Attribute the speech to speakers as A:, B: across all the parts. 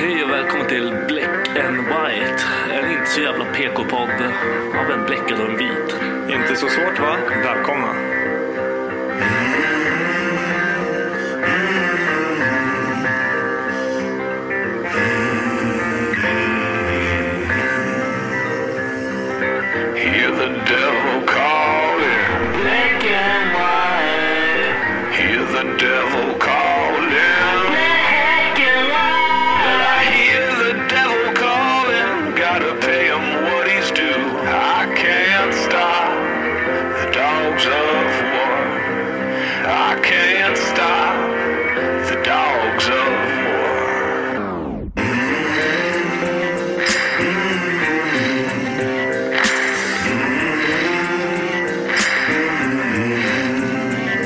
A: Hej och välkommen till Black and White. En inte så jävla PK-podd av en bläckad och en vit.
B: Inte så svårt va? Välkomna.
C: Hear the devil calling. Black and white. Hear the devil calling. Black and white. I hear the devil calling. Gotta pay him what he's due. I can't stop the dogs of war. I can't stop the dogs of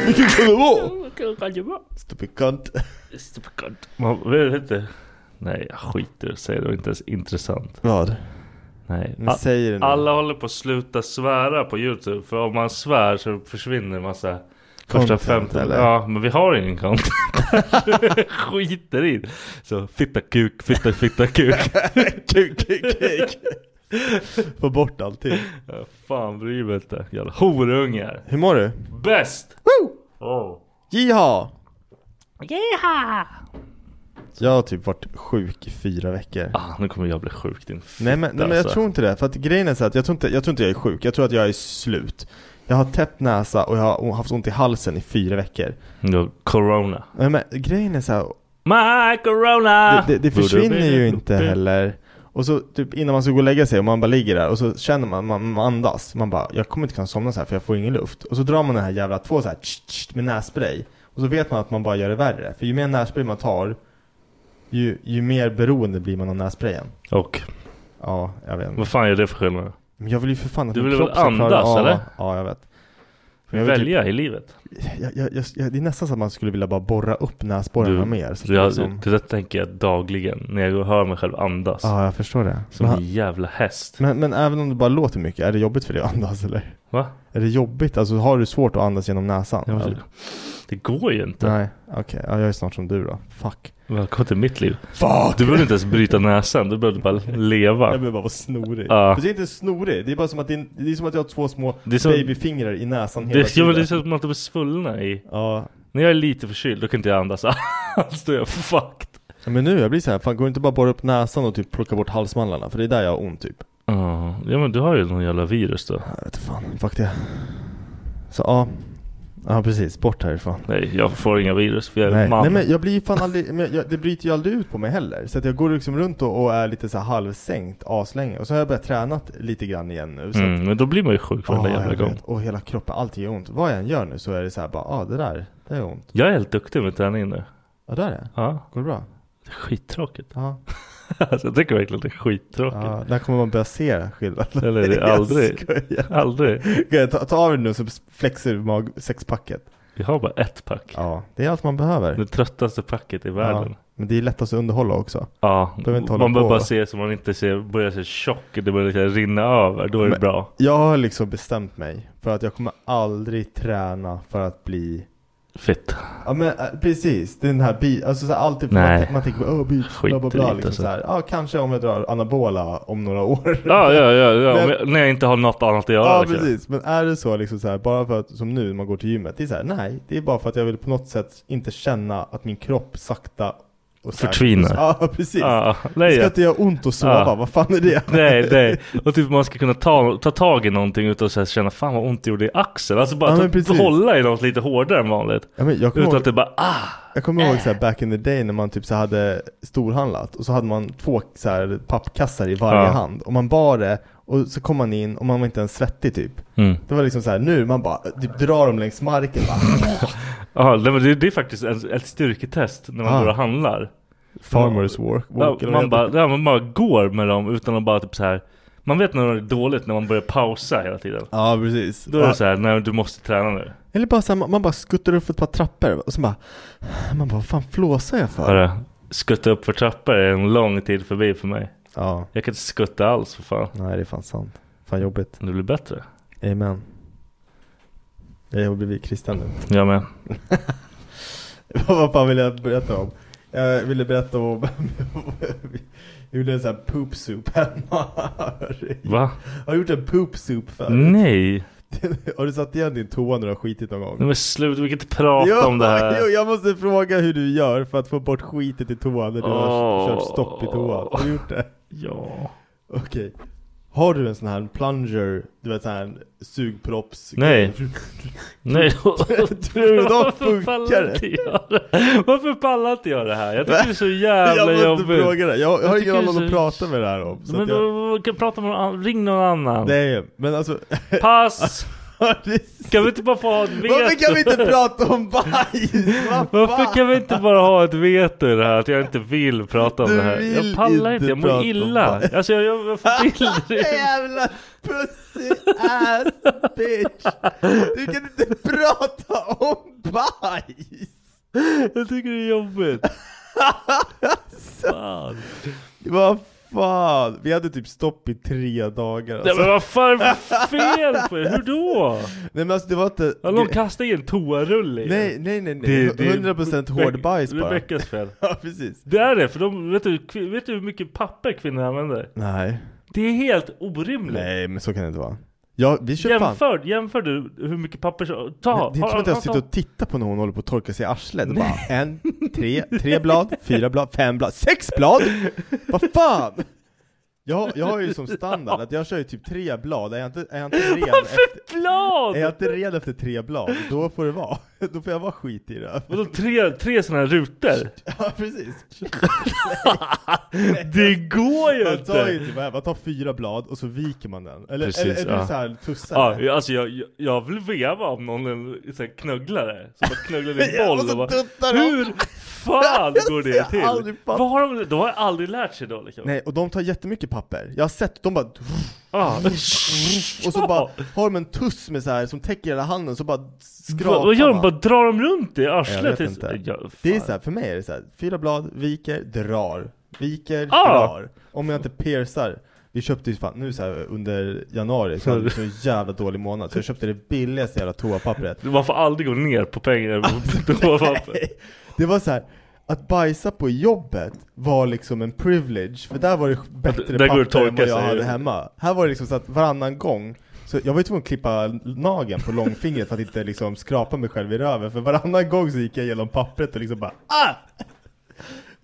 D: Vilken kan det vara?
A: Stupid cunt. Stupid cunt. Man, vad heter det? Nej, jag skiter och säger det. det var inte ens intressant.
D: Vad?
A: Nej.
D: Men säg det nu.
A: alla håller på att sluta svära på Youtube. För om man svär så försvinner en massa första
D: Content,
A: 15.
D: eller?
A: Ja, men vi har ingen content. skiter i det. Så fitta kuk, fitta fitta kuk.
D: Kuk, kuk, kuk. Få bort allting.
A: Ja, Fan bryr mig inte. Jävla horungar.
D: Hur mår du?
A: Bäst!
D: Woo!
A: Oh.
D: Jiha!
A: Yeah!
D: Jag har typ varit sjuk i fyra veckor.
A: Ah, nu kommer jag bli sjuk din fitta,
D: Nej men, nej, men jag
A: alltså.
D: tror inte det. För att grejen är så att jag tror, inte, jag tror inte jag är sjuk. Jag tror att jag är slut. Jag har täppt näsa och jag har haft ont i halsen i fyra veckor.
A: Ja, Corona.
D: Nej, men grejen är så här,
A: My corona!
D: det, det, det försvinner ju inte heller. Och så typ innan man ska gå och lägga sig och man bara ligger där och så känner man, man, man andas. Man bara, jag kommer inte kunna somna så här för jag får ingen luft. Och så drar man den här jävla två så här tsch, tsch, med nässpray. Och så vet man att man bara gör det värre. För ju mer nässpray man tar, ju, ju mer beroende blir man av nässprayen.
A: Och
D: Ja, jag vet.
A: vad fan är det för skillnad?
D: Men jag vill ju för fan att
A: Du
D: min
A: vill
D: kropp
A: väl
D: ska klara-
A: andas,
D: ja,
A: eller?
D: Ja, jag vet. Men jag vill
A: Välja i livet.
D: Typ, jag, jag, jag, jag, det är nästan så att man skulle vilja bara borra upp
A: Du,
D: näsborrarna mer. Så att
A: jag,
D: liksom,
A: Det där tänker jag dagligen när jag hör mig själv andas.
D: ja, jag förstår det.
A: Som
D: Men-
A: en jävla häst.
D: Men, men även om det bara låter mycket, är det jobbigt för dig att andas eller?
A: Va? typ.
D: Är det jobbigt? Alltså har du svårt att andas genom näsan?
A: Jag måste,
D: Eller?
A: det går ju inte.
D: Nej, okej. Ja, jag är snart som du då. Fuck.
A: Välkommen till mitt liv.
D: Fuck!
A: Du behöver inte ens bryta näsan, du behöver bara
D: Jag
A: leva.
D: behöver bara vara snorig.
A: Ja.
D: Fast jag är inte snorig, det är bara som att, det är, det är som att jag har två små
A: Det är som-
D: babyfingrar i näsan hela
A: Det, jag
D: tiden.
A: vill, det är som att man blir svullna i...
D: Ja.
A: När jag är lite förkyld, då kan inte jag andas alls. Då är jag fucked.
D: Ja, Men nu, jag blir så här, fan går det inte bara borra upp näsan och typ plocka bort halsmandlarna? För det är där jag har ont typ.
A: Ja, ja men du har ju någon jävla virus då.
D: Jag vet inte fan, fuck det. Så ja.
C: Ja precis, bort härifrån.
A: Nej, jag får inga virus för jag är
C: Nej.
A: man.
C: Nej men jag blir ju fan aldrig, men jag, det bryter ju aldrig ut på mig heller. Så att jag går liksom runt och, och är lite så här halvsänkt aslänge. Och så har jag börjat träna lite grann igen nu. Så
A: mm, men då blir man ju sjuk varenda
C: Ja,
A: jävla
C: jag
A: gång.
C: vet. Och hela kroppen, allting gör ont. Vad jag än gör nu så är det så här bara, ah det där, det är ont.
A: Jag är helt duktig med träning nu.
C: Ja det är det.
A: Ja,
C: Går det bra?
A: det är skittråkigt.
C: Ja.
A: alltså, jag tycker verkligen det är skittråkigt.
C: ja när kommer man börja se skillnaden?
A: Eller är det
C: Jag
A: aldrig?
C: skojar.
A: Aldrig.
C: Okej, ta, ta av dig nu så flexar du mag, sexpacket.
A: Vi har bara ett pack.
C: Ja, det är allt man behöver.
A: Det tröttaste packet i världen.
C: Ja, men det är lättast att underhålla också.
A: Ja,
C: Behöver inte hålla
A: man behöver
C: på,
A: bara
C: va?
A: se så man inte ser, börjar se tjock, det börjar liksom rinna över, då är det
C: Men-
A: bra.
C: Jag har liksom bestämt mig för att jag kommer aldrig träna för att bli
A: Fett.
C: Ja men eh, precis, den här bi- alltså så här, alltid för man,
A: Nej.
C: tänker- man tänker åh beach,
A: Skit
C: bla bla
A: i
C: bla
A: det,
C: liksom
A: alltså.
C: så här. Ja kanske om jag drar anabola om några år
A: Ja, ja, ja, ja.
C: Men-
A: Om jag, när jag inte har något annat att göra. liksom.
C: Ja
A: verkligen.
C: precis, men är det så liksom så här, bara för att som nu när man går till gymmet, det är så här, nej, det är bara för att jag vill på något sätt inte känna att min kropp sakta och säkert-
A: Förtvinar.
C: Ja precis.
A: Ja,
C: Det
A: nej,
C: ska
A: ja.
C: inte göra ont att sova,
A: Ja.
C: vad fan är det?
A: nej, nej. Och typ man ska kunna ta, ta tag i någonting utan att så här känna fan vad ont det gjorde i axeln. Alltså bara
C: Ja, men
A: ta,
C: precis.
A: hålla i något lite hårdare än vanligt.
C: Ja, men jag kommer
A: Utan
C: ihåg,
A: att det bara ah!
C: jag kommer ihåg så här, back in the day när man typ så här hade storhandlat och så hade man två så här, pappkassar i varje
A: Ja.
C: hand och man bar det och så kom man in och man var inte ens svettig typ.
A: Mm.
C: Det var liksom så här, nu man bara typ, drar dem längs marken bara.
A: Ja, nej, men det, det är faktiskt ett, ett styrketest när man
C: Ah.
A: går och handlar.
C: Farmers walk. walk
A: ja,
C: eller vad
A: man,
C: heter
A: bara, ja, man bara går med dem utan att bara typ så här. Man vet när det är dåligt när man börjar pausa hela tiden.
C: det? Ja precis.
A: Då är det så här, nej du måste träna nu.
C: Eller bara så här, man, man bara skuttar upp ett par trappor och så bara Man bara, vad fan flåsar jag för?
A: Hörru, skutta upp för trappor är en lång tid förbi för mig.
C: Ja,
A: Jag kan inte skutta alls för fan.
C: nej det är fan sant Fan jobbigt
A: Men Det blir bättre.
C: Amen Jag har blivit kristen nu
A: Jag med.
C: Vad fan vill jag berätta om? Jag ville berätta om Jag gjorde en sån här poop soup hemma
A: Va? Mm.
C: Har du gjort en poop soup förut?
A: Nej!
C: Har du satt igen din toa när du har skitit någon gång?
A: Nej men slut, vi kan inte prata om det här.
C: jo, jag måste fråga hur du gör för att få bort skitet i toan när du har
A: Åh.
C: kört stopp i toan. Har du gjort det?
A: Ja.
C: Okej. Har du en sån här plunger, du vet sån här sugpropps
A: Nej. Nej.
C: Tror du de
A: Varför pallar
C: funkar?
A: inte jag det? Varför pallar inte jag det här? Jag tycker det är så
C: Jag
A: jävla
C: måste
A: jobbigt.
C: fråga dig, jag, jag har
A: tycker
C: ingen
A: det är
C: annan att
A: så-
C: prata med det här om. Så
A: Men
C: att jag,
A: då kan jag prata med någon annan. Ring någon annan.
C: nej, men alltså
A: Pass!
C: har du-
A: Kan vi inte bara få ha ett veto?
C: Varför kan vi inte prata om bajs? Vad fan?
A: Varför kan vi inte bara ha ett veto i det här? Att jag inte vill prata om
C: Du
A: det här.
C: vill
A: Jag pallar inte, jag
C: inte prata
A: mår
C: om
A: illa.
C: det.
A: Alltså jag, jag, jag får bilder i
C: Jävla pussy ass bitch! Du kan inte prata om bajs!
A: Jag tycker det är jobbigt. Fan.
C: Vad fan? Vi hade typ stopp i tre dagar
A: Nej
C: alltså.
A: men vad fan är det för fel på er? Hur då?
C: Nej men alltså det var inte...
A: Har någon kastat in en toarulle i
C: Nej,
A: er?
C: nej, nej, nej.
A: Det- det är
C: 100% hård bajs
A: Det är
C: bara.
A: Rebeckas fel.
C: Ja, precis.
A: Det är det, för de, vet, du, kvin- vet du hur mycket papper kvinnor använder?
C: Nej.
A: Det är helt orimligt.
C: Nej, men så kan det inte vara. Ja, vi kör fan.
A: Jämför, jämför du hur mycket papper som... Ta!
C: Det är inte som att jag sitter och tittar på när hon håller på att torka sig i arslet. Det är Bara, en, tre, tre blad, fyra blad, fem blad, sex blad! Vad fan! Jag, jag har ju som standard att jag kör ju typ tre blad, är jag inte, är jag inte ren efter,
A: Blad!
C: är jag inte ren efter tre blad, då får det vara. Då får jag vara skit i det.
A: Vadå tre, tre sådana här rutor?
C: Ja, precis.
A: Det går ju
C: Man tar ju
A: inte!
C: typ, vad är det? man tar fyra blad och så viker man den. Eller,
A: Precis,
C: eller är
A: ja.
C: du såhär tussare?
A: Ja, jag- alltså jag, jag- jag vill veva om någon är en sån här knugglare som bara knugglar i en
C: Ja, och
A: boll
C: så
A: och bara,
C: tuttar de.
A: Hur fan
C: Jag
A: går
C: ser
A: det till?
C: aldrig papper.
A: Vad har de, de har aldrig lärt sig då liksom.
C: Nej, och de tar jättemycket papper. Jag har sett, de bara...
A: Ja.
C: Och så bara har de en tuss med så här som täcker hela handen, så bara skrapar
A: Vad vad gör de?
C: man.
A: Bara drar de runt i arslet?
C: Jag vet
A: tills-
C: inte.
A: Ja, fan.
C: Det är så här, för mig är det så här, fyra blad, viker, drar. Viker,
A: Ah!
C: drar. Om jag inte piercar. Vi köpte ju fan, nu så här under januari, så hade vi så jävla dålig månad, så jag köpte det billigaste jävla toapappret.
A: Man får aldrig gå ner på pengar på toapapper.
C: Det var så här. Att bajsa på jobbet var liksom en privilege, för där var det bättre
A: Där går det att
C: papper än
A: torka
C: vad jag
A: sig.
C: hade hemma. Här var det liksom så att varannan gång, så jag var ju tvungen att klippa nageln på långfingret för att inte liksom skrapa mig själv i röven, för varannan gång så gick jag igenom pappret och liksom bara ah!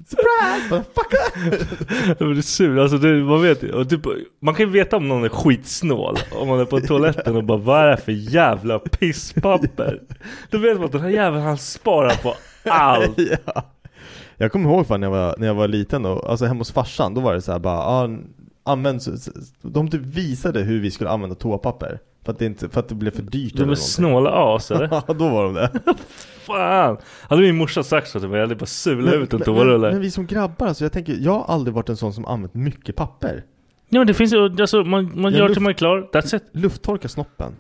C: Surprise motherfucker!
A: Jag blir sur, alltså du, man vet ju- och typ, Man kan ju veta om någon är skitsnål Om man är på toaletten och bara Vad är det här för jävla pisspapper? Då vet man att den här jäveln han sparar på allt
C: ja. Jag kommer ihåg fan när jag var, när jag var liten och, alltså hemma hos farsan, då var det så här bara, ah, använd, så- så- de typ visade hur vi skulle använda toapapper. För att det, inte, för att det blev för dyrt
A: De är snåla as eller?
C: Ja, då var de det.
A: Fan! Hade min morsa sagt så till mig, jag hade bara sulat ut en
C: men,
A: tårulle
C: men vi som grabbar, alltså, jag tänker, jag har aldrig varit en sån som använt mycket papper.
A: Ja men det finns ju, alltså man, man
C: Jag
A: gör
C: luft-
A: till man är klar, that's it
C: Lufttorka snoppen.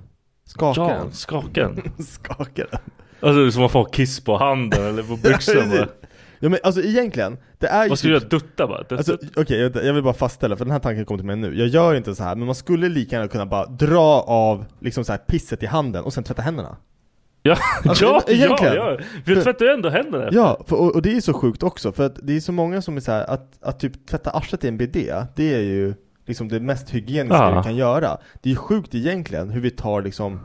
C: Skaka
A: Ja,
C: den.
A: skaken
C: Skaka den.
A: Alltså det är som att få kiss på handen eller på byxan
C: precis.
A: bara.
C: Ja men alltså egentligen, det är ju
A: Vad ska du
C: typ-
A: göra? Dutta bara? That's
C: Alltså,
A: it.
C: Okej, jag, jag vill bara fastställa, för den här tanken kom till mig nu. Jag gör inte så här, men man skulle lika gärna kunna bara dra av liksom så här pisset i handen och sen tvätta händerna.
A: Ja,
C: Alltså,
A: ja,
C: egentligen.
A: ja, ja! För jag tvättar ju ändå händerna
C: Ja, för, och, och det är ju så sjukt också, för att det är så många som är så här, att, att typ tvätta arslet i en bidé, det är ju liksom det mest hygieniska
A: Ja.
C: du kan göra. Det är ju sjukt egentligen hur vi tar liksom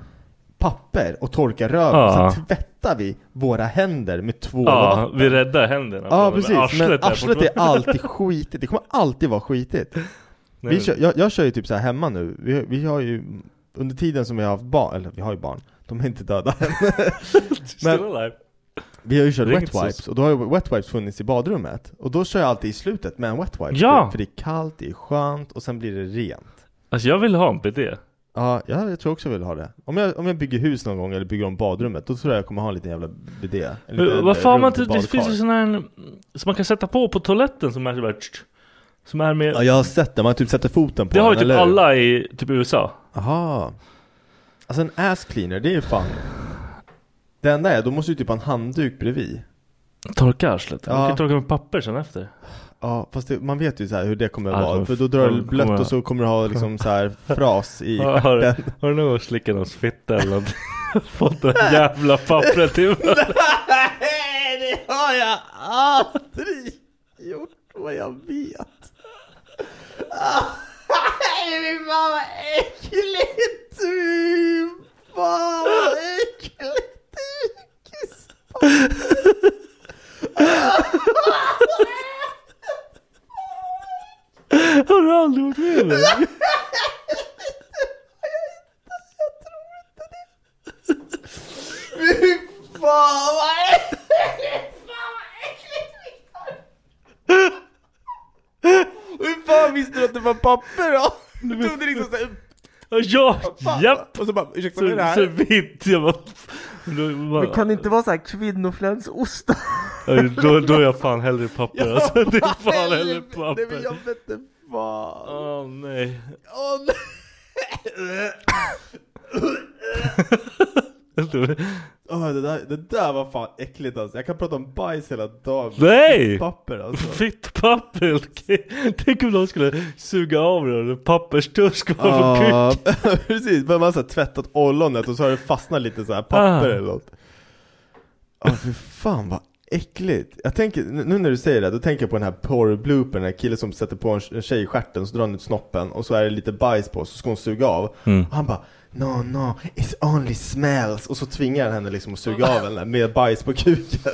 C: papper och torkar röven
A: Ja.
C: och sen tvättar vi våra händer med tvål och
A: Ja,
C: vatten.
A: vi räddar händerna.
C: Ja
A: Men
C: precis, men
A: är
C: arslet är
A: fortfarande-
C: alltid skitigt, det kommer alltid vara skitigt.
A: Nej,
C: Vi kör, jag, jag kör ju typ så här hemma nu, vi, vi har ju under tiden som vi har haft barn, eller vi har ju barn, de är inte döda än.
A: still
C: men-
A: alive.
C: Vi har ju kört
A: Det är
C: wet
A: inget så-
C: wipes, och då har ju wet wipes funnits i badrummet. Och då kör jag alltid i slutet med en wet wipe,
A: Ja!
C: för, för det är kallt, det är skönt och sen blir det rent.
A: Alltså jag vill ha en bidé.
C: Ja, jag, jag tror också jag vill ha det. Om jag, om jag bygger hus någon gång eller bygger om badrummet, då tror jag jag kommer ha en liten jävla bidé. En liten,
A: Varför har
C: eh,
A: man inte,
C: rumpbadkar.
A: det finns ju sån här mm, som man kan sätta på på toaletten som är sådär Som är med,
C: Ja, jag har sett det, man typ sätter foten på
A: det har ju
C: den,
A: typ
C: eller hur?
A: alla i typ USA.
C: Aha. Alltså en ass cleaner, det är ju fan Det enda är, då måste du typ ha en handduk bredvid
A: Torka arslet. Man
C: Ja.
A: kan torka med papper sen efter.
C: Ja, fast det, man vet ju så här hur det kommer
A: Ja,
C: att
A: det
C: vara
A: kommer-
C: För då drar det
A: kommer-
C: blött
A: kommer-
C: och så kommer du ha liksom så här fras i
A: Ja, Har,
C: stjärten
A: har du någon gång slickat någons fitta eller någonting? Fått det här jävla pappret i
C: Nej, det har jag aldrig gjort vad jag vet Nej, fy fan vad äckligt! Fy fan vad äckligt!
A: Har du aldrig varit med om det?
C: Fan vad äckligt! Hur fan visste du att det var papper då? Du tog det liksom såhär,
A: Ja, japp!
C: och så bara ursäkta
A: Så,
C: vad är det
A: så
C: här?
A: vitt. Jag bara... Då, bara
C: det inte vara såhär kvinnoflänsost?
A: Ja, då, då är jag fan hellre papper alltså. Det är fan hellre
C: Nej men jag
A: papper.
C: vette fan.
A: Åh nej.
C: Åh nej. Åh, det, där, det där var fan äckligt alltså. Jag kan prata om bajs hela dagen.
A: Nej!
C: Papper alltså.
A: Fitt papper! okej. Tänk om någon skulle suga av dig en papperstusk bara för kuk.
C: Ja, precis, men man har så här tvättat ollonet och så har det fastnat lite så här papper
A: Ah.
C: eller något. Ja, för fan vad äckligt. Jag tänker, nu när du säger det, då tänker jag på den här porrbloopen, den här killen som sätter på en en tjej i stjärten, så drar han ut snoppen och så är det lite bajs på, så ska hon suga av.
A: Mm.
C: Och han bara No, no, it's only smells. Och så tvingar han henne liksom att suga av henne med bajs på kuken.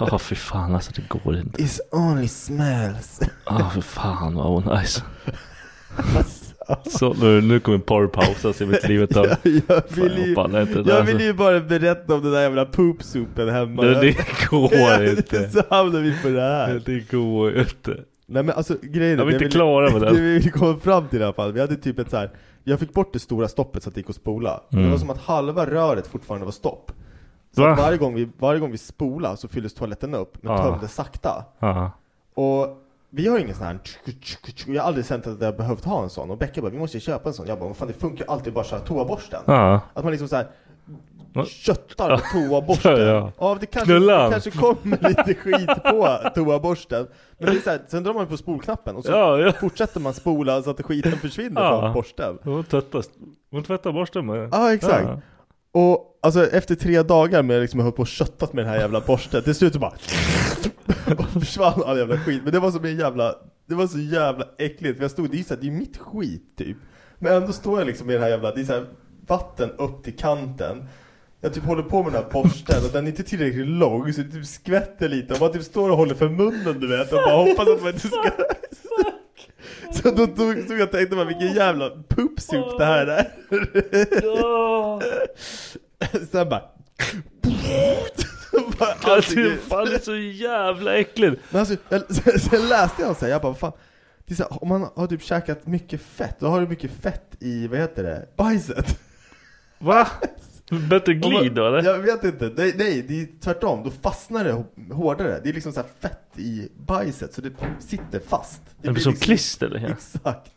A: Ja för fan alltså det går inte.
C: It's only smells.
A: Ja Ah, för fan vad onajs.
C: Alltså.
A: Så nu, nu kommer porrpausas i mitt liv ett tag.
C: Jag, jag, vill
A: jag
C: ju,
A: pallar inte det
C: jag
A: där, alltså.
C: vill ju bara berätta om den där jävla poopsoopen hemma.
A: Det, det går inte.
C: Så hamnar vi på det här.
A: Det går inte.
C: Nej men alltså grejen
A: Jag är
C: det
A: inte
C: vill-
A: klara med
C: det
A: den.
C: vi vill komma fram till i alla fall, vi hade typ ett så här. Jag fick bort det stora stoppet så att det gick att spola. Det var som att halva röret fortfarande var stopp. Så
A: Mm. Va?
C: att varje, gång vi, varje gång vi spolade så fylldes toaletten upp, men
A: Ah.
C: tömdes sakta.
A: Ja.
C: Och vi har ingen sån här Jag har aldrig känt att jag har behövt ha en sån. Och Becka bara, vi måste ju köpa en sån. Jag bara, vad fan det funkar ju alltid bara så här toaborsten.
A: Ja.
C: Att man liksom så här
A: Va?
C: köttar med toaborsten.
A: Ja, ja.
C: Ja, det kanske,
A: Knulla.
C: det kanske kommer lite skit på toaborsten. Men det är så här, sen drar man på spolknappen och så
A: Ja, ja.
C: fortsätter man spola så att skiten försvinner
A: Ja.
C: från borsten.
A: Hon tvättar, hon tvättar borsten med.
C: Ja, exakt.
A: Ja.
C: Och alltså efter tre dagar med liksom jag höll på och köttat med den här jävla borsten, till slut så bara och försvann all jävla skit. Men det var som en jävla, det var så jävla äckligt. För jag stod, det är ju så här, det är ju mitt skit typ. Men ändå står jag liksom i den här jävla, det är så här, vatten upp till kanten. Jag typ håller på med den här borsten och den är inte tillräckligt lång så det typ skvätter lite och man typ står och håller för munnen du vet och bara hoppas att man inte ska... Så då tog, tog jag tänkte bara vilken jävla puppsup det här är. Sen bara... Så bara
A: Alltså
C: allting är-
A: det fan det är så jävla äckligt.
C: Men alltså, jag, sen, sen läste jag så här, jag bara vad fan. Det är så här, om man har typ käkat mycket fett, då har du mycket fett i, vad heter det, bajset.
A: Va? Bättre glid då eller?
C: Jag vet inte, nej, nej det är tvärtom, då fastnar det hå- hårdare. Det är liksom så här fett i bajset så det sitter fast.
A: Det blir som
C: liksom-
A: klister eller? Ja.
C: Exakt.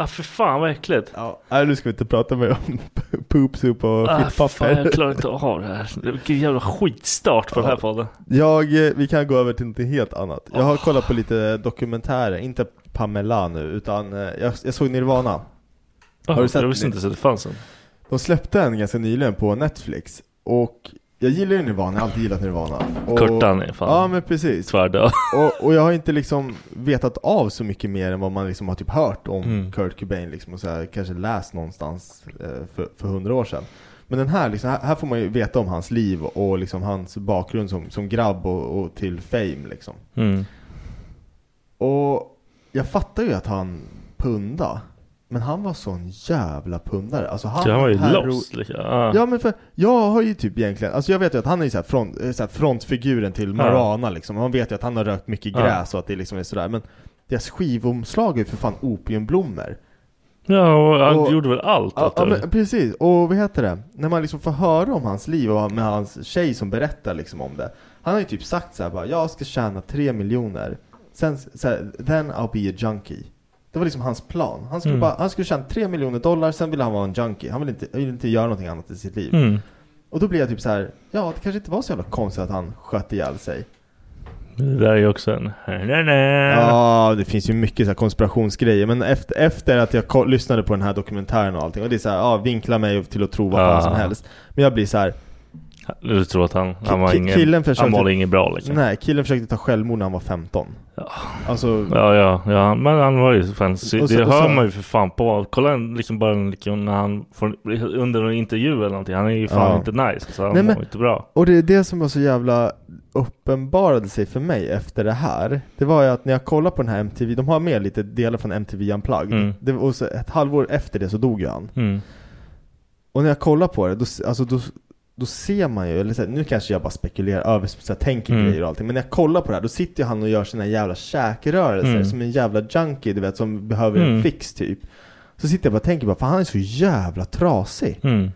A: Ah för fan vad äckligt.
C: Ja, nej, nu ska vi inte prata mer om poopsup och
A: Ah, för fan,
C: fittpapper.
A: jag klarar inte av det här. Vilken jävla skitstart på den här podden.
C: Jag, eh, vi kan gå över till något helt annat. Jag har
A: Oh.
C: kollat på lite dokumentärer, inte Pamela nu, utan eh, jag, jag såg Nirvana.
A: Ah, jag visste inte så att det fanns en.
C: De släppte en ganska nyligen på Netflix och jag gillar ju Nirvana, jag har alltid gillat Nirvana. Och,
A: Kurtan är fan
C: Ja men precis.
A: tvärdöd.
C: Och, och jag har inte liksom vetat av så mycket mer än vad man liksom har typ hört om
A: Mm.
C: Kurt Cobain liksom och så här, kanske läst någonstans eh, för, för hundra år sedan. Men den här, liksom, här, här får man ju veta om hans liv och liksom hans bakgrund som, som grabb och, och till fame liksom.
A: Mm.
C: Och jag fattar ju att han punda. Men han var sån jävla pundare. Alltså han,
A: Så han var ju
C: herro-
A: lost liksom. Ah.
C: Ja men för jag har ju typ egentligen, alltså jag vet ju att han är ju så här front, eh, så här frontfiguren till Marana liksom. Man vet ju att han har rökt mycket
A: Ja.
C: gräs och att det liksom är sådär. Men deras skivomslag är ju för fan opiumblommor.
A: Ja, och han
C: Och-
A: gjorde väl allt
C: Ja,
A: åt
C: ja
A: det.
C: men precis, och vad heter det? När man liksom får höra om hans liv och med hans tjej som berättar liksom om det. Han har ju typ sagt så här bara, jag ska tjäna tre miljoner. Sen så här, then I'll be a junkie. Det var liksom hans plan. Han skulle,
A: Mm.
C: bara, han skulle tjäna tre miljoner dollar, sen ville han vara en junkie. Han ville inte, ville inte göra någonting annat i sitt liv.
A: Mm.
C: Och då blev jag typ så här, ja det kanske inte var så jävla konstigt att han sköt ihjäl sig.
A: Det där är ju också en... Nej, nej.
C: Ja, det finns ju mycket så här konspirationsgrejer. Men efter, efter att jag ko- lyssnade på den här dokumentären och allting. Och det är så här, ja, vinkla mig till att tro vad fan
A: Ja.
C: som helst. Men jag blir så här,
A: Du tror att han, han var
C: ki-
A: ingen...
C: killen
A: han
C: försökte-
A: mådde inget bra liksom.
C: nej, killen försökte ta självmord när han var 15. Alltså,
A: Ja, ja, ja, men han var ju fan, sy-
C: Och så-
A: det
C: och så-
A: hör man ju för fan på. Kolla en- liksom bara en- liksom, när han får, under en intervju eller någonting. Han är ju fan
C: Ja.
A: inte nice. Så han
C: Nej,
A: mår
C: men-
A: inte bra.
C: och det är det som var så jävla uppenbarade sig för mig efter det här. Det var ju att när jag kollade på den här MTV, de har med lite delar från MTV Unplugged.
A: Mm.
C: Det, och så ett halvår efter det så dog ju han.
A: Mm.
C: Och när jag kollar på det, då, alltså, då, då ser man ju, eller så här, nu kanske jag bara spekulerar över, så här, tänker
A: Mm.
C: grejer och allting. Men när jag kollar på det här, då sitter ju han och gör sina jävla käkrörelser
A: Mm.
C: som en jävla junkie, du vet, som behöver en
A: Mm.
C: fix typ. Så sitter jag bara och tänker bara, för han är så jävla trasig.
A: Mm.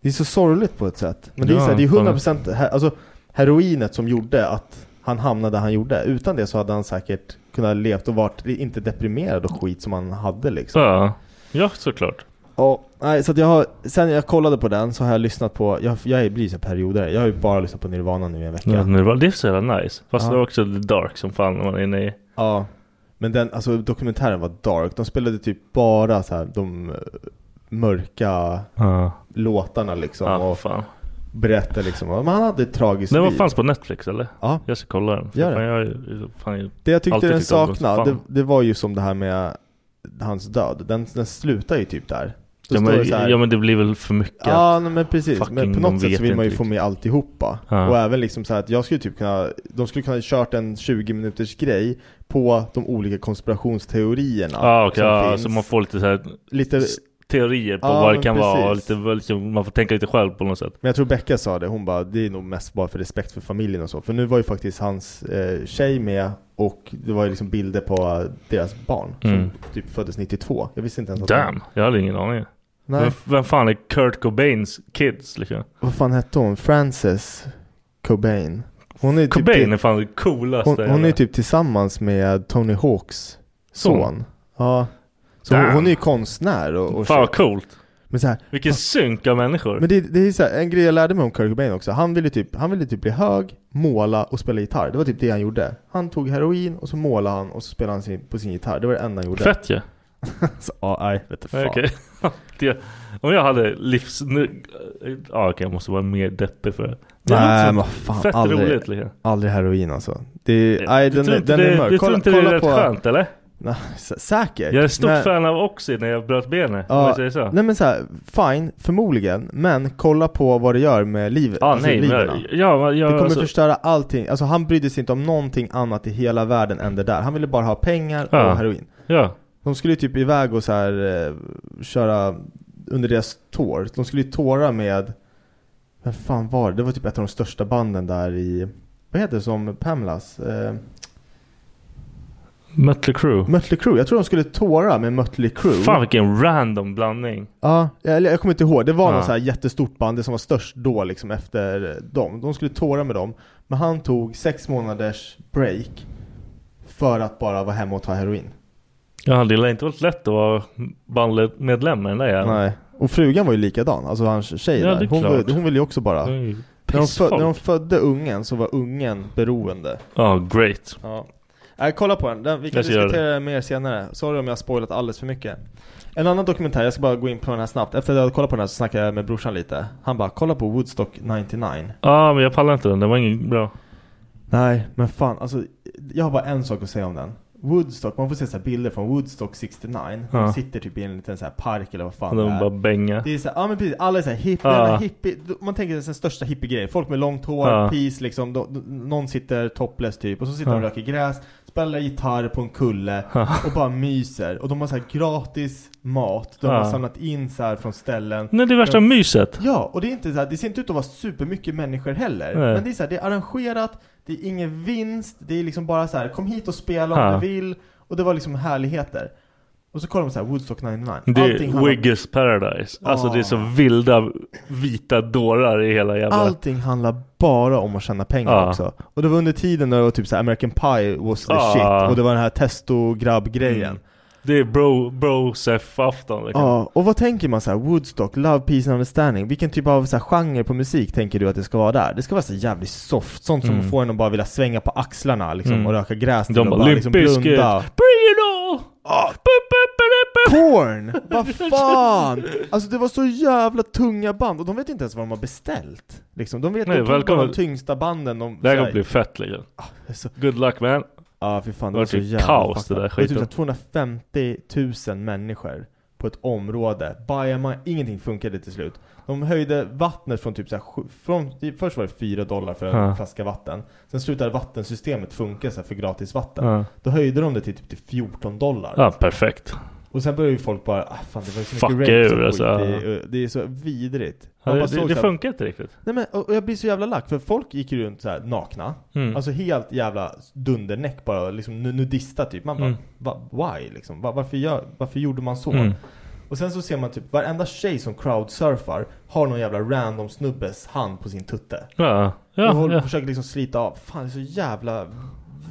C: Det är så sorgligt på ett sätt. Men det är
A: Ja,
C: så här, det är
A: fan.
C: 100% he- alltså, heroinet som gjorde att han hamnade där han gjorde. Utan det så hade han säkert kunnat levt och varit inte deprimerad och skit som han hade liksom.
A: Ja. ja, såklart.
C: Ja, nej, så att jag har, sen jag kollade på den så har jag lyssnat på, jag, jag blir så här perioder, jag har ju bara lyssnat på Nirvana nu i en vecka.
A: Ja. Det, var, det är så jävla nice. Fast
C: Ja.
A: det var också the dark som fan när man är inne i.
C: Ja, men den, alltså dokumentären var dark, de spelade typ bara så här, de eh, mörka
A: Ja,
C: låtarna liksom
A: ja
C: och
A: fan.
C: berättade liksom, men han hade ett tragiskt
A: Den var
C: liv.
A: fanns på Netflix eller?
C: Ja.
A: Jag ska kolla den.
C: Gör
A: Fan,
C: det.
A: jag, är- fan, jag,
C: Det jag tyckte
A: Alltid
C: den
A: tyckte om dem som
C: saknade, det,
A: fan.
C: det var ju som det här med hans död, den, den slutar ju typ där. Då
A: ja,
C: står
A: men,
C: det så här-
A: ja men det blir väl för mycket.
C: Ja nej, men precis,
A: fucking
C: men på
A: de
C: något sätt
A: vet
C: så vill man ju
A: inte
C: få med alltihopa
A: Ja.
C: Och även liksom så här att jag skulle typ kunna De skulle kunna kört en 20 minuters grej På de olika konspirationsteorierna
A: ah, okay,
C: som
A: ja,
C: finns.
A: så man får lite så här
C: Lite,
A: s- teorier på
C: Ja,
A: vad det
C: men
A: kan vara. Och
C: precis.
A: lite, liksom, man får tänka lite själv på något sätt.
C: Men jag tror Becka sa det, hon bara Det är nog mest bara för respekt för familjen och så För nu var ju faktiskt hans eh, tjej med Och det var ju liksom bilder på eh, deras barn
A: Mm.
C: Som typ föddes 92 Jag visste inte ens att
A: Damn, jag hade ingen aning.
C: Nej, Typ-
A: Vem, vem fan är Kurt Cobains kids liksom?
C: vad fan hette hon? Frances Cobain Hon är typ-
A: Cobain är fan det coolaste.
C: Hon, hon är ju typ tillsammans med Tony Hawks son.
A: Son?
C: Ja. Så hon,
A: Damn.
C: hon är ju konstnär och, och
A: Fan vad
C: shit.
A: coolt.
C: Men, så här,
A: Vilken synk av människor.
C: men det, det är så här, en grej jag lärde mig om Kurt Cobain också. Han ville, typ, han ville typ bli hög, måla och spela gitarr. Det var typ det han gjorde. Han tog heroin och så målade han och så spelade han sin, på sin gitarr. Det var det enda han gjorde.
A: Fett ju.
C: Så, ja, nej, vet du fan.
A: Okej. Det- Om jag hade livs... Nu, ja okej, jag måste vara mer deppig för det. det.
C: Nej,
A: låter
C: men
A: som
C: fan,
A: Fett
C: aldrig.
A: roligt liksom.
C: Aldrig heroin alltså. Det, nej,
A: Du
C: den,
A: tror
C: är-
A: inte
C: den
A: det-
C: är
A: Du
C: mörk.
A: tror
C: Kolla,
A: inte det är
C: kolla
A: rätt
C: på...
A: skönt eller?
C: Nej, sä- säkert.
A: Jag är stort
C: Men-
A: fan av Oxy när jag bröt benet. om
C: Ja,
A: jag säger så.
C: Nej men så här, fine, förmodligen. Men kolla på vad det gör med livet.
A: Ja,
C: alltså
A: Ah, nej, men-
C: liverna.
A: ja, men jag-
C: det kommer
A: alltså-
C: förstöra allting. Alltså han brydde sig inte om någonting annat i hela världen än det där. Han ville bara ha pengar
A: Ja.
C: och heroin.
A: Ja.
C: De skulle ju typ iväg och så här, eh, köra under deras tår. De skulle ju tåra med, vem fan var det? Det var typ ett av de största banden där i, vad heter det som Pamelas? Eh,
A: Mötley Crüe.
C: Mötley Crüe. Jag tror de skulle tåra med Mötley Crüe.
A: Fan vilken random blandning.
C: Ja, eller jag kommer inte ihåg. Det var
A: Ja.
C: något så här jättestort band, det som var störst då liksom efter dem. De skulle tåra med dem. Men han tog sex månaders break för att bara vara hemma och ta heroin.
A: Ja, det lär inte varit lätt att vara bandmedlem med den där jäveln.
C: Nej. Och frugan var ju likadan, alltså hans tjej
A: Ja, det
C: där.
A: är
C: Hon,
A: klart.
C: vill- hon ville ju också bara...
A: Det är ju
C: När de, fö-
A: pissfolk.
C: när de födde ungen så var ungen beroende.
A: Ja, great.
C: Ja. Äh, kolla på den, den vi kan
A: Jag ska göra
C: diskutera det mer senare. Sorry om jag har spoilat alldeles för mycket. En annan dokumentär, jag ska bara gå in på den här snabbt. Efter att jag hade kollat på den här så snackade jag med brorsan lite. Han bara, kolla på Woodstock 99.
A: Ja, men jag pallar inte den. Den var ingen bra.
C: Nej, men fan alltså. Jag har bara en sak att säga om den. Woodstock, man får se så här bilder från Woodstock 69.
A: Ja.
C: De sitter typ i en liten så här park eller vad fan
A: Och de
C: det är.
A: bara bänga.
C: Det är så här, ja men precis, alla är så här hipp,
A: Ja.
C: jävla hippie, man tänker sig den största hippiegrejen. Folk med långt hår,
A: Ja.
C: peace liksom, de, de, någon sitter topless typ, och så sitter de och
A: Ja.
C: röker gräs, spelar gitarr på en kulle
A: Ja.
C: och bara myser. Och de har så här gratis mat, de
A: Ja.
C: har samlat in så här från ställen.
A: Nej, det är värsta
C: De-
A: myset.
C: Ja, och det, är inte så här, det ser inte ut att vara supermycket människor heller.
A: Nej.
C: Men det är så här, det är arrangerat, det är ingen vinst, det är liksom bara så här, kom hit och spela om
A: Ja.
C: du vill. Och det var liksom härligheter. Och så kollar man så här, Woodstock 99.
A: Det
C: Allting
A: är
C: handlar-
A: Wiggers Paradise. Alltså
C: Ah.
A: det är så vilda vita dårar i hela jävla...
C: Allting handlar bara om att tjäna pengar
A: Ja.
C: också. Och det var under tiden när det var typ så här American Pie was the
A: Ja.
C: shit och det var den här testo-grabb-grejen.
A: Mm. Det är bro, bro afton liksom.
C: Ja, och vad tänker man så här, Woodstock, Love, Peace and Understanding, vilken typ av så här, genre på musik tänker du att det ska vara där? Det ska vara så jävligt soft, sånt som
A: Mm.
C: får en att bara vilja svänga på axlarna liksom,
A: Mm.
C: och röka gräs till
A: De
C: och
A: bara,
C: bara
A: Limp
C: liksom
A: Bizkit.
C: blunda. Ah.
A: Bring it all!
C: Porn! Vad fan! Alltså det var så jävla tunga band, och de vet inte ens vad de har beställt. Liksom, de vet
A: Nej,
C: de tog bara
A: välkommen.
C: de tyngsta banden de...
A: Det här
C: så
A: kommer bli fett liksom.
C: Ah,
A: Good luck man.
C: Ja fy fan, det
A: var
C: var så
A: typ
C: jävla
A: kaos
C: fucked
A: det där
C: up. Det var typ
A: skiten.
C: så här 250 000 människor på ett område. Bajama, ingenting funkade till slut. De höjde vattnet från typ så här, sju- från, först var det 4 dollar för en
A: Ja.
C: flaska vatten. Sen slutade vattensystemet funka så här för gratis vatten.
A: Ja.
C: Då höjde de det till typ till 14 dollar.
A: Ja, perfekt.
C: Och sen började ju folk bara, ah, fan det var ju så
A: Fuck
C: mycket
A: you,
C: rape och skit.
A: alltså.
C: Det, är- det är så vidrigt.
A: Ja,
C: Man
A: det
C: bara
A: det,
C: såg
A: det
C: så här,
A: funkar inte riktigt.
C: Nej men, och och jag blir så jävla lack för folk gick ju runt så här nakna
A: Mm.
C: Alltså helt jävla dundernäck bara, liksom nu- nudista typ Man bara,
A: Mm.
C: va, why liksom? Va, varför, gör, varför gjorde man så?
A: Mm.
C: Och sen så ser man typ varenda tjej som crowdsurfar Har någon jävla random snubbes hand på sin tutte
A: Ja, ja,
C: Och håller,
A: ja.
C: försöker liksom slita av Fan det är så jävla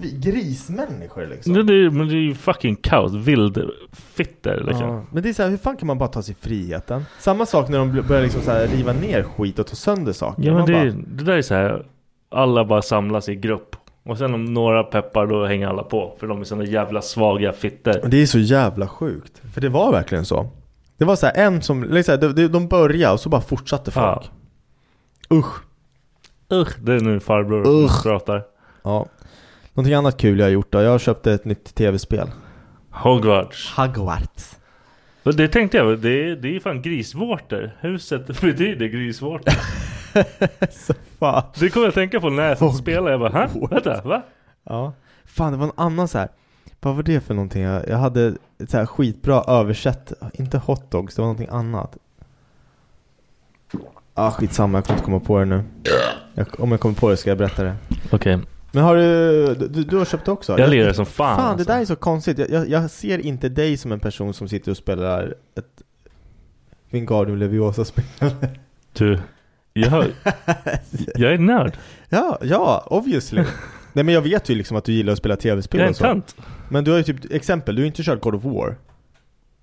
C: vi- grismänniskor liksom
A: Det, det, är- men det är ju fucking kaos. Vild fitter liksom.
C: Ja, Men det är så här, hur fan kan man bara ta sig friheten? Samma sak när de bl- börjar liksom så här riva ner skit och ta sönder saker
A: Ja men
C: Man
A: det,
C: bara,
A: det där är så här. Alla bara samlas i grupp. Och sen om några peppar då hänger alla på. För de är såna jävla svaga fitter.
C: Men Det är så jävla sjukt. För det var verkligen så. Det var så här, en som, eller så här, de, de började och så bara fortsatte folk. Usch.
A: Usch, det är nu farbror
C: Usch.
A: pratar.
C: Ja. Någonting annat kul jag har gjort då. Jag köpte ett nytt tv-spel.
A: Hogwarts.
C: Hogwarts.
A: Och Det tänkte jag, det är, det är fan grisvårtor. Huset betyder grisvårtor.
C: så Alltså, fan.
A: Det kommer jag tänka på när jag satt och spelade. Jag bara, hä? Vänta, va?
C: Ja. Fan, det var en annan så här. Vad var det för någonting? Jag, jag hade ett så här skitbra översätt. Inte hotdogs, det var någonting annat. Ah, skitsamma. Jag kommer inte komma på det nu. Jag, om jag kommer på det ska jag berätta det.
A: Okej.
C: Men har du, du, du har köpt det också?
A: Jag lirar som fan,
C: Fan
A: alltså.
C: det där är så konstigt, jag, jag, jag ser inte dig som en person som sitter och spelar ett Wingardium Leviosa-spel
A: Du, jag, jag är nörd.
C: Ja, ja, obviously Nej men jag vet ju liksom att du gillar att spela tv-spel
A: Jag är en
C: och så.
A: tönt.
C: Men du har ju typ, exempel, du har ju inte kört God of War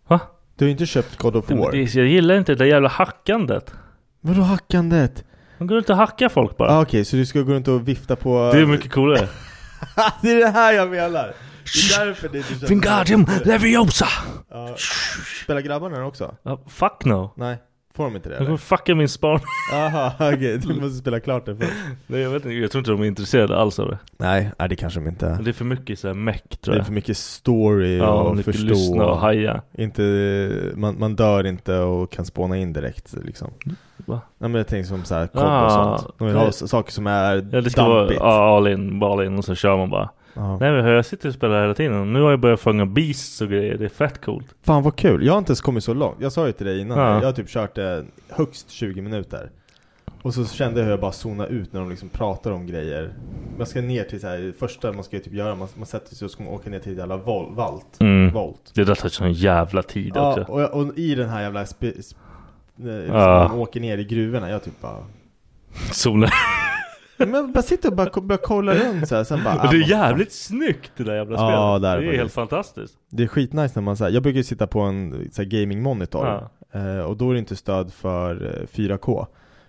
A: Va?
C: Du har ju inte köpt God of
A: Nej, men
C: War
A: det- Jag gillar inte det där jävla hackandet.
C: Vadå hackandet?
A: De går runt och hackar folk bara.
C: Ah, Okej, så du ska gå runt och vifta på
A: Det är mycket coolare.
C: det är det här jag menar! Det är därför det du köper
A: Leviosa!
C: Ja. Spelar grabbarna också?
A: Ja, fuck no.
C: Nej Får de inte det
A: De kommer fucka min spaning.
C: Jaha, okej. Du måste spela klart det först.
A: Nej, jag vet inte, jag tror inte de är intresserade alls av det.
C: Nej, nej, det kanske de inte är.
A: Det är för mycket så här meck
C: Det
A: tror
C: är
A: jag.
C: för mycket story
A: Ja,
C: och
A: mycket
C: förstå.
A: lyssna och haja.
C: Inte, man, man dör inte och kan spåna in direkt liksom.
A: Va?
C: Nej men jag tänker som så här kobb
A: Ah,
C: och sånt. De vill ha
A: nej.
C: s- saker som är
A: Ja, det ska vara
C: dampigt.
A: ja, all in, ball in och så kör man bara.
C: Ja.
A: Nej men jag sitter och spelar hela tiden. Nu har jag börjat fånga beasts och grejer. Det är fett coolt.
C: Fan vad kul, jag har inte ens kommit så långt. Jag sa ju till dig innan,
A: Ja.
C: jag har typ kört eh, högst 20 minuter. Och så kände jag hur jag bara zonade ut när de liksom pratar om grejer. Man ska ner till så här, det första man ska ju typ göra, man, man sätter sig och så ska man åka ner till ett jävla vol, valt.
A: Mm.
C: Volt.
A: Det där tar sån jävla tid
C: Ja,
A: också.
C: och, jag- och i den här jävla sp- sp- eh, liksom,
A: Ja.
C: man åker ner i gruvorna, jag typ bara...
A: Solen.
C: Men jag bara sitter och bara, bara kollar runt så här, sen bara...
A: Men det
C: ah, vad
A: är
C: fan.
A: jävligt snyggt det där jävla
C: Ja,
A: spelet.
C: det är det
A: det är
C: faktiskt.
A: helt fantastiskt.
C: Det är skitnice när man säger jag brukar ju sitta på en så här, gaming-monitor eh, och då är det inte stöd för eh, 4K.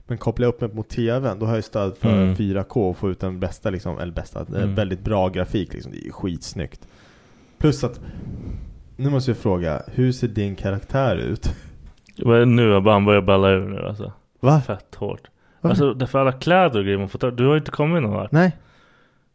C: Men kopplar jag upp mig mot TVn, då har jag ju stöd för
A: Mm.
C: 4K och får ut den bästa, liksom, eller bästa, eh,
A: Mm.
C: väldigt bra grafik liksom. Det är ju skitsnyggt. Plus att, nu måste jag fråga, hur ser din karaktär ut?
A: Men nu, jag bara- han börjar balla ur nu alltså.
C: Va?
A: Fett hårt.
C: Varför?
A: Alltså därför alla kläder och grejer man får tag Du har ju inte kommit någon vart.
C: Nej.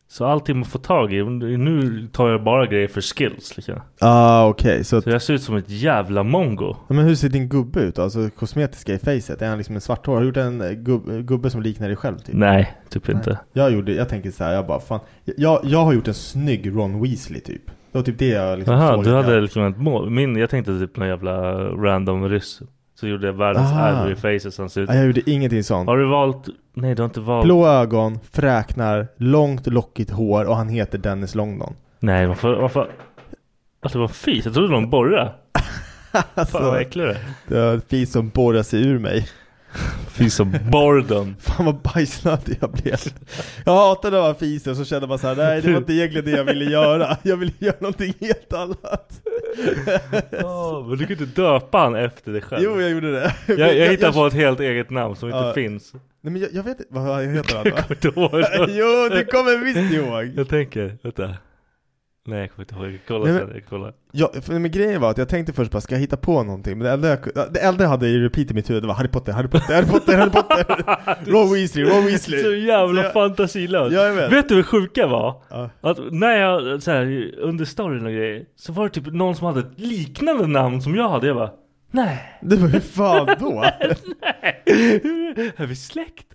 A: Så allting man får tag i. Nu tar jag bara grejer för skills liksom.
C: Ah okej, så, att,
A: Så jag ser ut som ett jävla mongo.
C: Ja, men hur ser din gubbe ut då? Alltså kosmetiska i facet, är han liksom en svarthårig? Har du gjort en eh, gub- gubbe som liknar dig själv typ?
A: Nej, typ inte.
C: Jag gjorde, jag tänker så här, jag bara fan jag, jag har gjort en snygg Ron Weasley typ Det var typ det jag liksom
A: Jaha,
C: såg
A: du
C: att
A: hade
C: jag-
A: liksom ett mål. Min, jag tänkte typ någon jävla random ryss. Så gjorde jag världens
C: Aha.
A: ärr i faces han ser ut.
C: Nej, jag gjorde ingenting sånt
A: Har du valt? Nej du har inte valt.
C: Ah, Blå ögon, fräknar, långt lockigt hår och han heter Dennis Longdon
A: Nej varför, varför? Alltså vad fis, jag trodde någon borra. Fan vad äcklig du är.
C: Alltså, Det var ett fis som borrar sig ur mig
A: Fis och boredom.
C: Fan vad bajsnödig jag blev Jag hatade de här fisen så kände man så här, nej det var inte egentligen det jag ville göra Jag ville göra någonting helt annat
A: Åh, men du kan inte döpa han efter dig själv.
C: Jo jag gjorde det
A: jag, jag, hittade på ett helt eget namn som inte
C: Ja.
A: finns.
C: Nej men jag, jag vet inte, vad heter han då?
A: Kommer inte ihåg det.
C: Jo du kommer visst ihåg!
A: Jag tänker, vänta. Nej jag kommer inte ihåg, kolla
C: Nej, men-
A: sen. Jag kollar.
C: Ja, för, men grejen var att jag tänkte först bara, ska jag hitta på någonting? Men det enda jag, det enda jag hade i repeat i mitt huvud var Harry Potter, Harry Potter, Harry Potter, Harry Potter! Ron Weasley, Ron
A: Så
C: Weasley!
A: jävla
C: Så jag-
A: fantasilös.
C: Ja, jag vet.
A: du hur sjuka var?
C: Ja.
A: Att när jag så här, under storyn och grejer så var det typ någon som hade ett liknande namn som jag hade. Jag bara nej,
C: Du bara, hur fan då?
A: är vi släkt?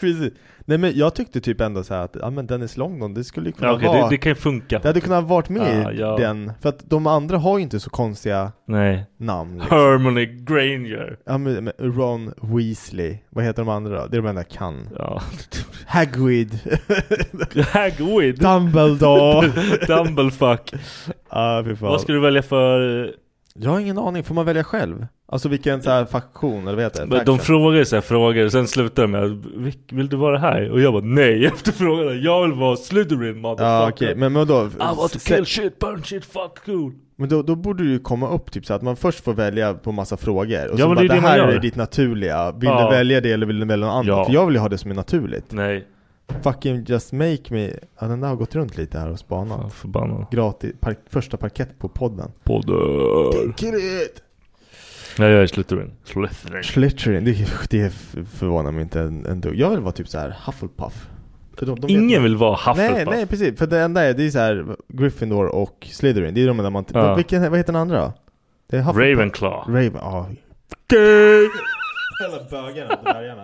C: Precis. Nej men jag tyckte typ ändå så här att, ja men Dennis Longdon, det skulle ju kunna
A: Ja, okej,
C: vara...
A: det,
C: Det,
A: det kan ju funka.
C: hade kunnat varit med
A: Ja,
C: i
A: ja.
C: den, för att de andra har ju inte så konstiga
A: Nej.
C: namn. Liksom.
A: Harmony Granger.
C: Ja men men Ron Weasley, vad heter de andra då? Det är de enda jag kan.
A: Ja.
C: Hagrid,
A: Hagwid.
C: Dumbledore.
A: Dumblefuck.
C: ah, fy fan.
A: Vad ska du välja för? eh,
C: Jag har ingen aning, får man välja själv? Alltså vilken så här faktion eller vad heter det?
A: De
C: Faction.
A: frågar så här frågor och sen slutar de med "Vil- Vill du vara här? Och jag bara nej efter frågan. Jag vill vara Slytherin
C: Ja
A: motherfucker.
C: okej, men, men då,
A: I want to kill shit, burn shit, fuck cool.
C: men då, då borde det ju komma upp typ så att man först får välja på massa frågor och
A: Ja, men
C: så bara,
A: det
C: det,
A: är det man
C: här
A: gör.
C: är ditt naturliga, vill
A: Ja.
C: du välja det eller vill du välja något annat?
A: Ja.
C: För jag vill ju ha det som är naturligt
A: Nej,
C: Fucking just make me, ja den där har gått runt lite här och spanat
A: fan förbannad.
C: Gratis, park, första parkett på podden
A: Poddar.
C: Kill it!
A: Nej jag är Slytherin. Slytherin.
C: Slytherin, det, det f- förvånar mig inte en, en dugg Jag vill vara typ så här Hufflepuff För de- de vet
A: Ingen vill vara Hufflepuff.
C: Nej, nej precis. För det enda är, det är så här Gryffindor och Slytherin. Det är de där man...
A: Ja.
C: Vilken, vad heter den andra då? Det är Hufflepuff.
A: Ravenclaw.
C: Raven, ja.
A: Gay.
C: Alla bögarna på bergarna.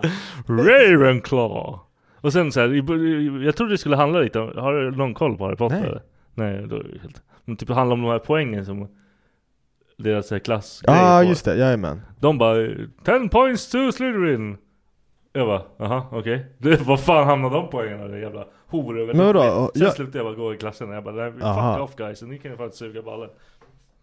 A: Ravenclaw. Och sen så här, i bör- jag trodde det skulle handla lite om, har du någon koll på Harry Potter?
C: Nej.
A: Nej. Nej, då är det helt. Men typ det handlar om de här poängen som deras så här klass
C: Ja, ah,
A: får.
C: just det. Jajamän.
A: De bara 10 points to Slytherin. Jag bara, aha okej. Det- Vad fan hamnade de poängen där jävla horor?
C: Men vadå?
A: Sen
C: Jag-
A: slutade jag bara gå i klassen och jag bara, nej,
C: Aha.
A: fuck off guys, ni kan ju fan suga ballen.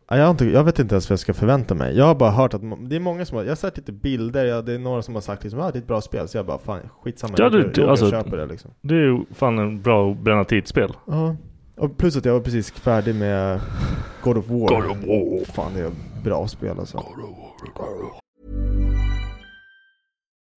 C: Ja, Jag, har inte, jag vet inte ens vad jag ska förvänta mig. Jag har bara hört att må- det är många som har... Jag har sett lite bilder, ja, det är några som har sagt liksom, ah, det är ett bra spel. Så jag bara, fan skitsamma.
A: Ja,
C: jag,
A: du-
C: jag, jag,
A: alltså-
C: köper det liksom.
A: Det är ju fan en bra att bränna tidsspel.
C: Ja. Och plus att jag var precis färdig med God of War. God of War. Fan, det är bra spel alltså.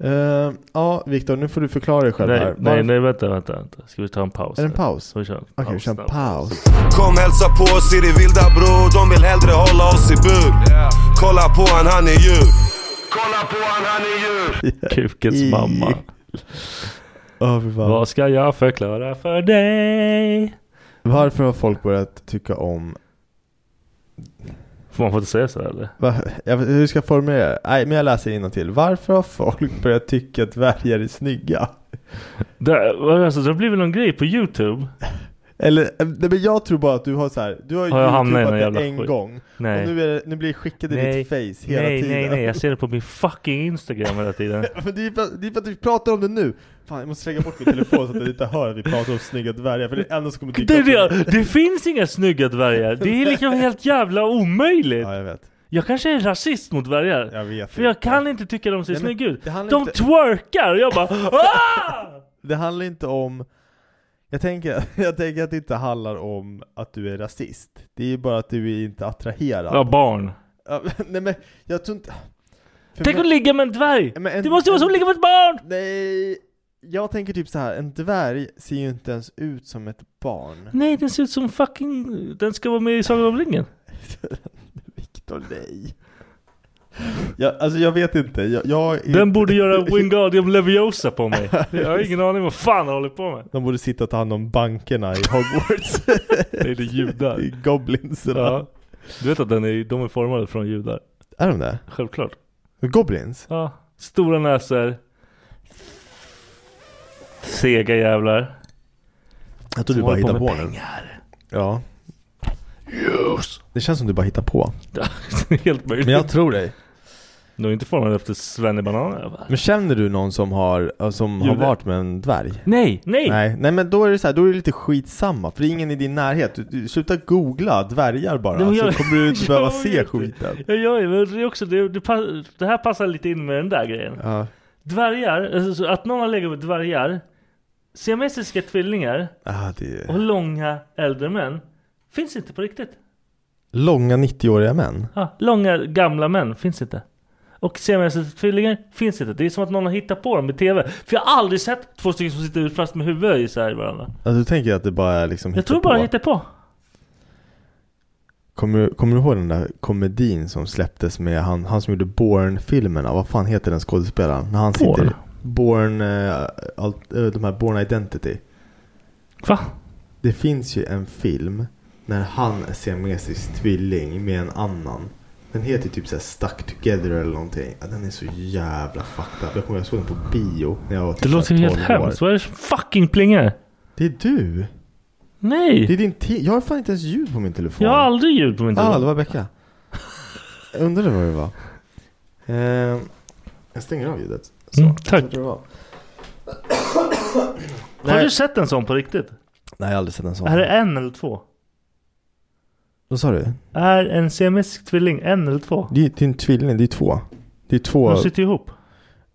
C: Eh, ja, Viktor, nu får du förklara dig själv
A: Nej,
C: här.
A: nej,
C: Varför-
A: nej, vänta, vänta, vänta. Ska vi ta en paus?
C: Är det en
A: här?
C: paus?
A: Ska vi köra en
C: Okej, vi kör en
A: då?
C: paus.
D: Kom hälsa på oss i det vilda bro, de vill hellre hålla oss i bur. Kolla på han, han är djur. Kolla på han, han är djur.
A: Kukens mamma. Vad ska jag förklara för dig?
C: Varför har folk börjat tycka om...
A: Får man får inte säga så eller?
C: Va, jag, vet- hur ska jag formulera det? Nej, men jag läser till. Varför har folk börjat tycka att dvärgar är snygga?
A: Det, vad är det, alltså, det har blivit någon grej på YouTube.
C: Eller, eh, nej, men jag tror bara att du har så här. Du har, ju
A: Har jag hamnat i någon
C: youtubat
A: jävla
C: det en
A: skit?
C: gång.
A: Nej.
C: Och nu, är det, nu blir det skickat i ditt face hela
A: nej,
C: tiden.
A: Nej, nej, jag ser det på min fucking Instagram hela tiden.
C: Men det är, för, det är för att vi pratar om det nu. Fan, jag måste slänga bort min telefon så att jag inte hör att vi pratar om snygga dvärgar. För det är det enda som kommer dyka
A: Det,
C: upp.
A: det, det finns inga snygga dvärgar. Det är liksom helt jävla omöjligt.
C: Ja, jag vet.
A: Jag kanske är rasist mot dvärgar.
C: Jag vet
A: För jag kan inte tycka de ser
C: Nej, men
A: snygga ut.
C: det handlar
A: De
C: inte-
A: twerkar och jag bara "Ah!"
C: Det handlar inte om... Jag tänker, jag tänker att det inte handlar om att du är rasist. Det är ju bara att du är inte attraherad.
A: Ja, barn.
C: Ja, men- Nej men, jag tror inte... För
A: Tänk
C: mig-
A: att ligga med en dvärg!
C: Men en-
A: det måste ju vara som att
C: en-
A: ligga med ett barn!
C: Nej! Jag tänker typ så här. en dvärg ser ju inte ens ut som ett barn.
A: Nej, den ser ut som fucking... Den ska vara med i Sagan om ringen.
C: Viktor, nej. Jag, alltså jag vet inte, jag, jag är-
A: Den borde göra Wingardium Leviosa på mig. Jag har ingen aning vad fan jag håller på med.
C: De borde sitta och ta hand om bankerna i Hogwarts.
A: Nej, det är judar.
C: I goblinsarna.
A: Ja. Du vet att den är, de är formade från judar?
C: Är de det?
A: Självklart.
C: Goblins?
A: Ja. Stora näsor. Sega jävlar.
C: Jag
A: Som
C: tror du bara
A: håller på
C: hittar på
A: med
C: nu. Ja. Yes. Det känns som du bara hittar på.
A: Helt möjligt.
C: Men jag tror dig.
A: De är inte formade efter svennebanan.
C: Men känner du någon som har, äh, som har
A: Jude.
C: varit med en dvärg?
A: Nej, nej.
C: Nej, nej men då är det så här, då är det lite skitsamma för det är ingen i din närhet. Du, du, sluta googla dvärgar bara
A: Nej, men jag-
C: så kommer du inte behöva
A: jag
C: se
A: vet
C: skiten.
A: Ja, ja, men det, är också, det, det, pass, det här passar lite in med den där grejen.
C: Ja.
A: Dvärgar, alltså, så att någon har legat med dvärgar, siamesiska tvillingar
C: Ah, det är
A: och långa äldre män finns inte på riktigt.
C: långa 90-åriga män.
A: Ja, långa gamla män finns inte. Och siamesiska tvillingar finns inte. Det är som att någon har hittat på dem i TV. För jag har aldrig sett två stycken som sitter fast med huvudet i så här i varandra.
C: Alltså du tänker att det bara är liksom
A: Jag tror bara hittar på.
C: Kommer, kommer du ihåg den där komedin som släpptes med han, han som gjorde Born-filmerna? Vad fan heter den skådespelaren? När han
A: Bourne?
C: sitter Born, allt, eh, de här Born Identity.
A: Va?
C: Det finns ju en film när han är siamesisk tvilling med en annan. Den heter typ såhär Stuck Together eller någonting. Ja, Den är så jävla fucked up. Jag kommer ihåg jag såg den på bio när jag var typ
A: Det låter
C: så här
A: ju helt
C: 12 år.
A: hemskt. Vad är det som fucking plingar?
C: Det är du!
A: Nej!
C: Det är din te- Jag har fan inte ens ljud på min telefon.
A: Jag har aldrig ljud på min
C: Ja,
A: telefon.
C: ah, det var Becka. Jag undrade vad det var. Eh, jag stänger av ljudet. Så,
A: Mm,
C: jag
A: tack.
C: tror det var.
A: Har
C: Nej.
A: du sett en sån på riktigt?
C: Nej, jag har aldrig sett en sån.
A: Är det en eller två?
C: Vad sa du?
A: Är en siamesisk tvilling en eller två?
C: Det är, det är en tvilling, det är två. Det är två.
A: De sitter ihop.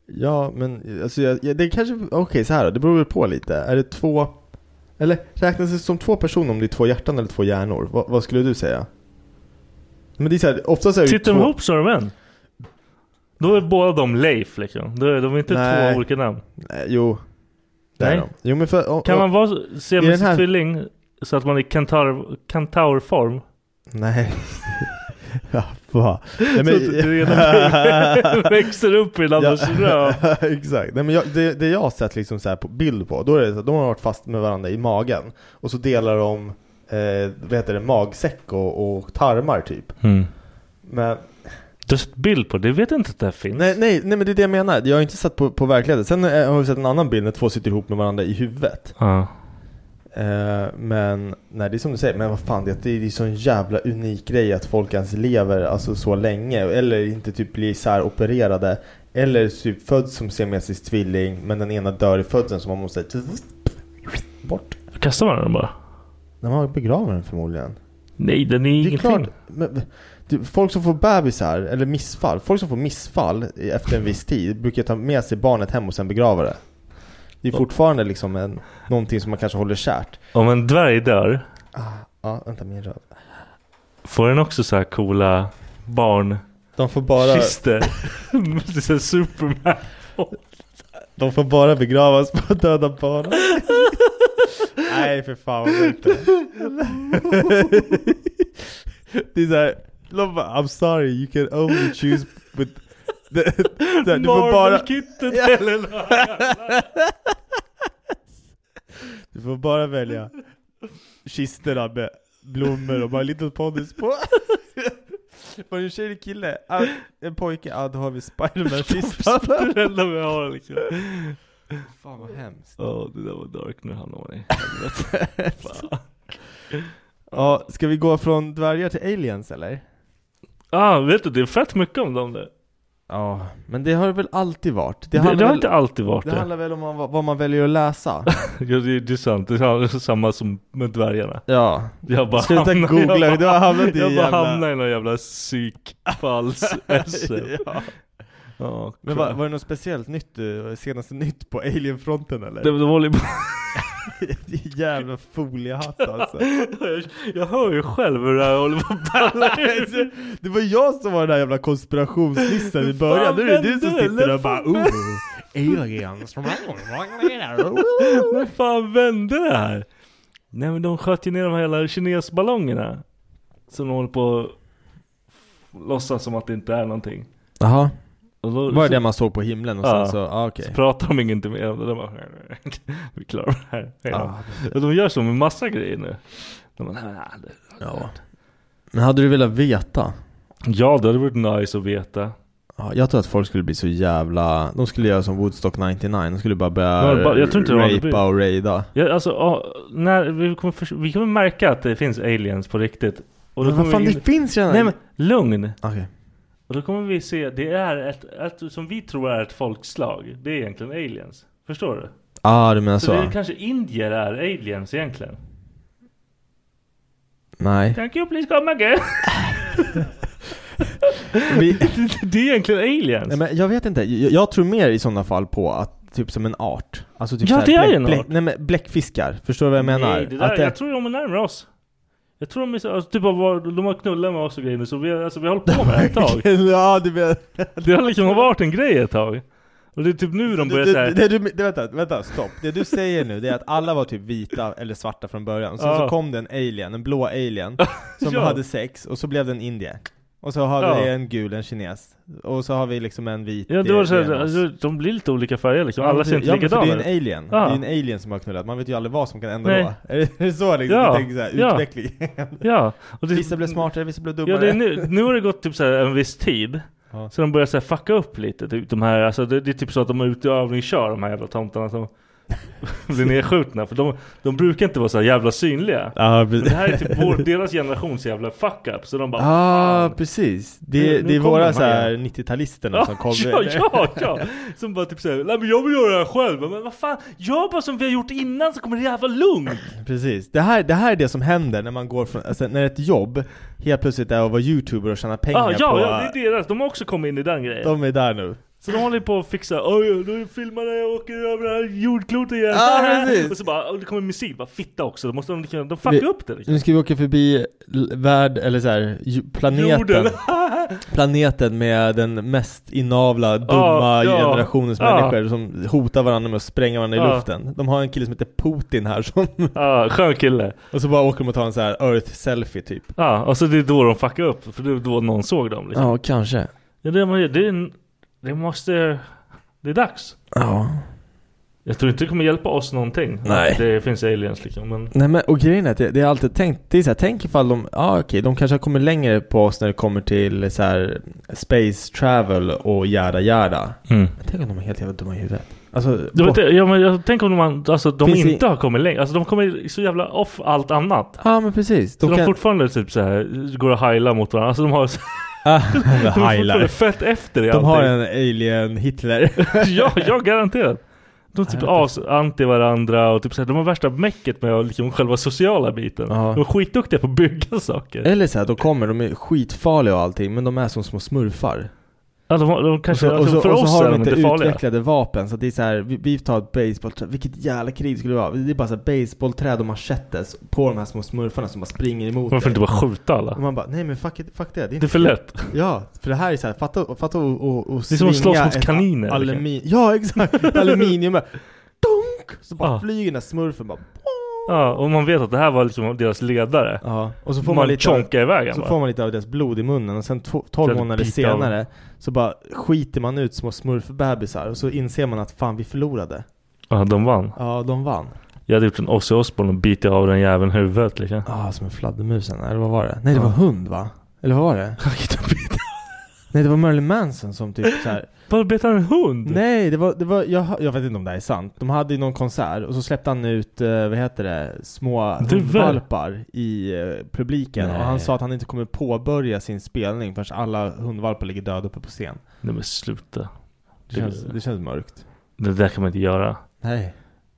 C: Ja, men alltså jag, jag, det kanske, okej så här då, det beror väl på lite. Är det två, eller räknas det som två personer om det är två hjärtan eller två hjärnor? Vad- vad skulle du säga? Men det är så här, oftast är det ju
A: Sitter Typ de
C: Typ två-
A: ihop så är de en. Då är båda de Leif liksom. Då är de inte
C: Nej.
A: två olika namn.
C: Nej, jo. Det är
A: Nej.
C: de. Jo men för,
A: Kan man vara
C: I den
A: siamesisk
C: här-
A: tvilling så att man är kantar, kantaurform?
C: Nej. Ja, fan. Nej,
A: Så att det ena växer upp i den andras röv.
C: Exakt. Nej, men jag, det, det jag har sett liksom så här på bild på, då är det, så att de har varit fast med varandra i magen. Och så delar de, eh, vad heter det, magsäck och, och tarmar typ.
A: Mm.
C: Men
A: Du har sett bild på det? Jag vet inte att det här finns.
C: Nej, nej, nej men det är det jag menar. Jag har inte sett på, på verkligheten. Sen eh, har vi sett en annan bild när två sitter ihop med varandra i huvudet.
A: Ja.
C: Eh, men nej, det är som du säger, men vad fan det, det är ju sån jävla unik grej att folk ens lever alltså, så länge. Eller inte typ blir säropererade. Eller typ föds som siamesisk tvilling men den ena dör i födseln så man måste bort.
A: Kastar man den bara?
C: När man begraver den förmodligen.
A: Nej, den är
C: Det är
A: ingenting.
C: klart, men, du, folk som får bebisar, eller missfall, folk som får missfall i- efter en viss tid brukar ta med sig barnet hem och sen begrava det. Det är fortfarande liksom en, någonting som man kanske håller kärt.
A: Om en dvärg dör,
C: Ja, vänta min röv.
A: får den också så här coola barn...
C: De får bara...
A: Kister. det är så här Superman.
C: De får bara begravas på döda barn. Nej för fan vad sjukt det är. Det är såhär, de bara, I'm sorry you can only choose with... Det- så här, du får bara...
A: Marvel-kittet
C: Ja.
A: eller något
C: Du får bara välja kisterna med blommor och bara lite pondus på. Var det en tjej eller kille? Ah, en pojke? Ja, ah, då har vi Spiderman-kistan.
A: Det är det enda vi har liksom.
C: Fan vad hemskt.
A: Ja, det där var dark nu hamnar man i helvete.
C: Ja, ska vi gå från dvärgar till aliens eller?
A: ah, vet du, det är fett mycket om dem där.
C: Ja, men det har det väl alltid varit?
A: Det-
C: handlar
A: det har
C: väl-
A: inte alltid varit
C: Det
A: det.
C: handlar väl om vad, vad man väljer att läsa?
A: Ja, det, det är sant. Det är samma som med dvärgarna.
C: Ja.
A: Jag bara
C: Sluta
A: hamnar-
C: googla,
A: jag
C: du har hamnat i
A: Jag bara
C: jävla-
A: hamnar i någon jävla psykfalls SF.
C: Ja.
A: Ja,
C: men var, var det något speciellt nytt, eh, senaste nytt på alienfronten eller?
A: Det var volleyboll.
C: Det är jävla foliehatt alltså.
A: jag, jag hör ju själv hur det här håller på att balla ur.
C: Alltså, Det var jag som var den där jävla konspirationsnissen i början,
A: Fan,
C: nu är det du som
A: vände det,
C: sitter
A: eller
C: och bara
A: fan?
C: oh, aliens.
A: När fan vände det här? Nej men de sköt ju ner de här jävla kinesballongerna. Som de håller på att f- låtsas som att det inte är någonting.
C: Jaha,
A: Och då-
C: var det
A: så-
C: det man såg på himlen och sen så, ah, okej.
A: Så pratar de inget mer om det. De bara, vi klarar det här. Hej då.
C: Ah,
A: Och de gör så med massa grejer nu. De bara, nej, men aldrig.
C: Ja. Men hade du velat veta?
A: Ja, det hade varit nice att veta.
C: Ja, jag tror att folk skulle bli så jävla, de skulle göra som Woodstock 99, de skulle bara
A: Ja, det
C: börja
A: bara- jag tror inte det hade blivit-
C: rapa och raida.
A: Ja, alltså, ja, när vi, kommer förs- vi kommer märka att det finns aliens på riktigt. Och då
C: Men vad
A: kommer
C: fan,
A: vi
C: det finns redan-
A: Nej men, lugn!
C: Okej.
A: Och då kommer vi se, det är ett, ett, som vi tror är ett folkslag, det är egentligen aliens. Förstår du?
C: Ah, du menar
A: så
C: så?
A: det är kanske indier är aliens egentligen.
C: Nej.
A: Thank you please come again!
C: Vi-
A: det, det är egentligen aliens.
C: Nej, men jag vet inte, jag, jag tror mer i sådana fall på att typ som en art. Alltså typ
A: Ja,
C: så här
A: det är ju
C: bläck-
A: en
C: bläck-
A: art.
C: Nej men bläckfiskar, förstår du vad jag menar?
A: Nej, det där,
C: att det,
A: jag tror de är närmare oss. Jag tror de är så, alltså, typ av, var- de har knullat med oss och grejer nu, så vi, har- alltså, vi har hållit på med det här ett tag.
C: ja, du menar...
A: Det har liksom varit en grej ett tag. Och det är typ nu de
C: Du,
A: börjar
C: du,
A: såhär...
C: det, du, det, vänta, vänta, stopp. Det du säger nu det är att alla var typ vita eller svarta från början, sen så
A: Ja.
C: kom det en alien, en blå alien, som
A: Ja.
C: hade sex, och så blev det en indier. Och så har vi
A: Ja.
C: en gul, en kines. Och så har vi liksom en vit
A: Ja, det var så
C: en
A: här,
C: oss.
A: alltså, de blir lite olika färger liksom.
C: Ja,
A: Alla
C: men
A: ser
C: det-
A: inte
C: ja, men för
A: likadana
C: Det är en alien,
A: Ja.
C: det är en alien som har knullat, man vet ju aldrig vad som kan ändra
A: Nej.
C: då. Är det- är det så liksom?
A: Ja,
C: Du tänker såhär,
A: ja.
C: utvecklingen?
A: Ja. Och det-
C: vissa blev smartare, vissa blev dummare.
A: Ja, det är nu, nu har det gått typ så här en viss tid.
C: Ja.
A: Så de börjar så här fucka upp lite. Typ, de här, alltså, det, det är typ så att de är ute och övningskör de här jävla tomtarna som blir nedskjutna. För de, de brukar inte vara så här jävla synliga.
C: Ja,
A: Men
C: precis.
A: det här är typ vår, deras generations jävla fuck up. Så de bara
C: Ja, ah, precis. Det,
A: Nu- nu
C: det är
A: kommer
C: våra
A: de här
C: såhär
A: igen.
C: 90-talisterna
A: Ja,
C: som kommer.
A: ja, ja, ja! Som bara typ såhär, nej men jag vill göra det här själv. Men vad fan, gör bara som vi har gjort innan så kommer det jävla lugnt.
C: Precis. Det här, det här är det som händer när man går från, alltså, när ett jobb helt plötsligt är att vara youtuber och tjäna pengar
A: Ah, ja,
C: på...
A: ja, det är deras. De har också kommit in i den grejen.
C: De är där nu.
A: Så de håller ju på att fixa, oj, nu filmar jag åker över det här jordklotet igen.
C: Ja, precis.
A: Och så bara, och det kommer musik, bara fitta också. Då måste de, kunna- de fuckar upp det liksom.
C: Nu ska vi åka förbi l- värld, eller så här, ju- planeten.
A: Jorden.
C: planeten med den mest inavla, dumma
A: Ah, Ja, Ah. ja,
C: generationens
A: ja.
C: människor som hotar varandra med att spränga varandra i
A: Ja.
C: luften. De har en kille som heter Putin här som...
A: Ja, skön kille.
C: Och så bara åker de och tar en så här Earth-selfie typ.
A: Ja, och så det är då de fuckar upp. För det är då någon såg dem liksom.
C: Ja, kanske.
A: Ja, det, man gör, det, är en- det måste... Det är dags.
C: Ja.
A: Jag tror inte det kommer hjälpa oss någonting.
C: Nej.
A: Att Det finns aliens liksom. Men
C: Nej men och grejen är att det, det är alltid tänkt, det är så här, tänk ifall de, ja ah, okej, de kanske har kommit längre på oss när det kommer till så här space travel och yada yada.
A: Mm.
C: Men tänk om de är helt jävla dumma i huvudet. Alltså,
A: Du vet,
C: bort-
A: ja, men jag tänker om man, alltså, de
C: Finns
A: inte har kommit längre. Alltså de kommer så jävla off allt annat.
C: Ja men precis.
A: så de
C: kan-
A: fortfarande typ så här går och heilar mot varandra. Alltså de har... de är fortfarande fett efter i
C: De har
A: allting.
C: en alien Hitler.
A: ja, jag garanterat. De typ as-anti varandra och typ så här, de har värsta mäcket med liksom själva sociala biten.
C: Ja. Eh.
A: De är skitduktiga på att bygga saker.
C: Eller så här, de kommer, de är skitfarliga och allting, men de är som små smurfar.
A: Ja, de, har- de kanske,
C: och så, och
A: alltså,
C: så,
A: för
C: och så
A: oss
C: har
A: är
C: de inte
A: farliga.
C: utvecklade vapen, så att det är så här, vi, vi tar ett baseballträ, vilket jävla krig skulle det vara? Det är bara så här baseballträd och machetes på de här små smurfarna som bara springer emot
A: Varför
C: dig.
A: inte bara skjuta alla?
C: Och man bara, nej men fuck, it, fuck det. Det är,
A: Det är för lätt.
C: Ja, för det här är så här, fatta, fatta och, och, och
A: Det är som att slåss
C: svinga
A: mot
C: ett
A: kaniner,
C: Alumi- ja exakt, aluminium. bara, Dunk! Så bara
A: Ja.
C: flyger den här smurfen bara.
A: Ja, och man vet att det här var liksom deras ledare.
C: Ja, Och så får man, lite av-
A: chonka iväg han
C: Så
A: bara.
C: får man lite av deras blod i munnen och sen to- 12
A: Sen
C: månader
A: bita av-
C: senare så bara skiter man ut små smurfbebisar och så inser man att fan vi förlorade.
A: Ja, de vann.
C: Ja, de vann.
A: Jag hade gjort en Ozzy Osbourne och bitit av den jäveln huvudet liksom.
C: Ja, som en fladdermusen. Eller vad var det? Nej, det var hund va? Eller vad var det? Nej, det var Marilyn Manson som typ så här.
A: Bara bet han en hund?
C: Nej, det var, det var jag, jag vet inte om det här är sant. De hade ju någon konsert och så släppte han ut, eh, vad heter det, små
A: Duvor.
C: hundvalpar i eh, publiken.
A: Nej.
C: Och han sa att han inte kommer påbörja sin spelning förrän alla hundvalpar ligger döda uppe på scen.
A: Nej men sluta.
C: Det känns, det känns mörkt.
A: Det där kan man inte göra.
C: Nej.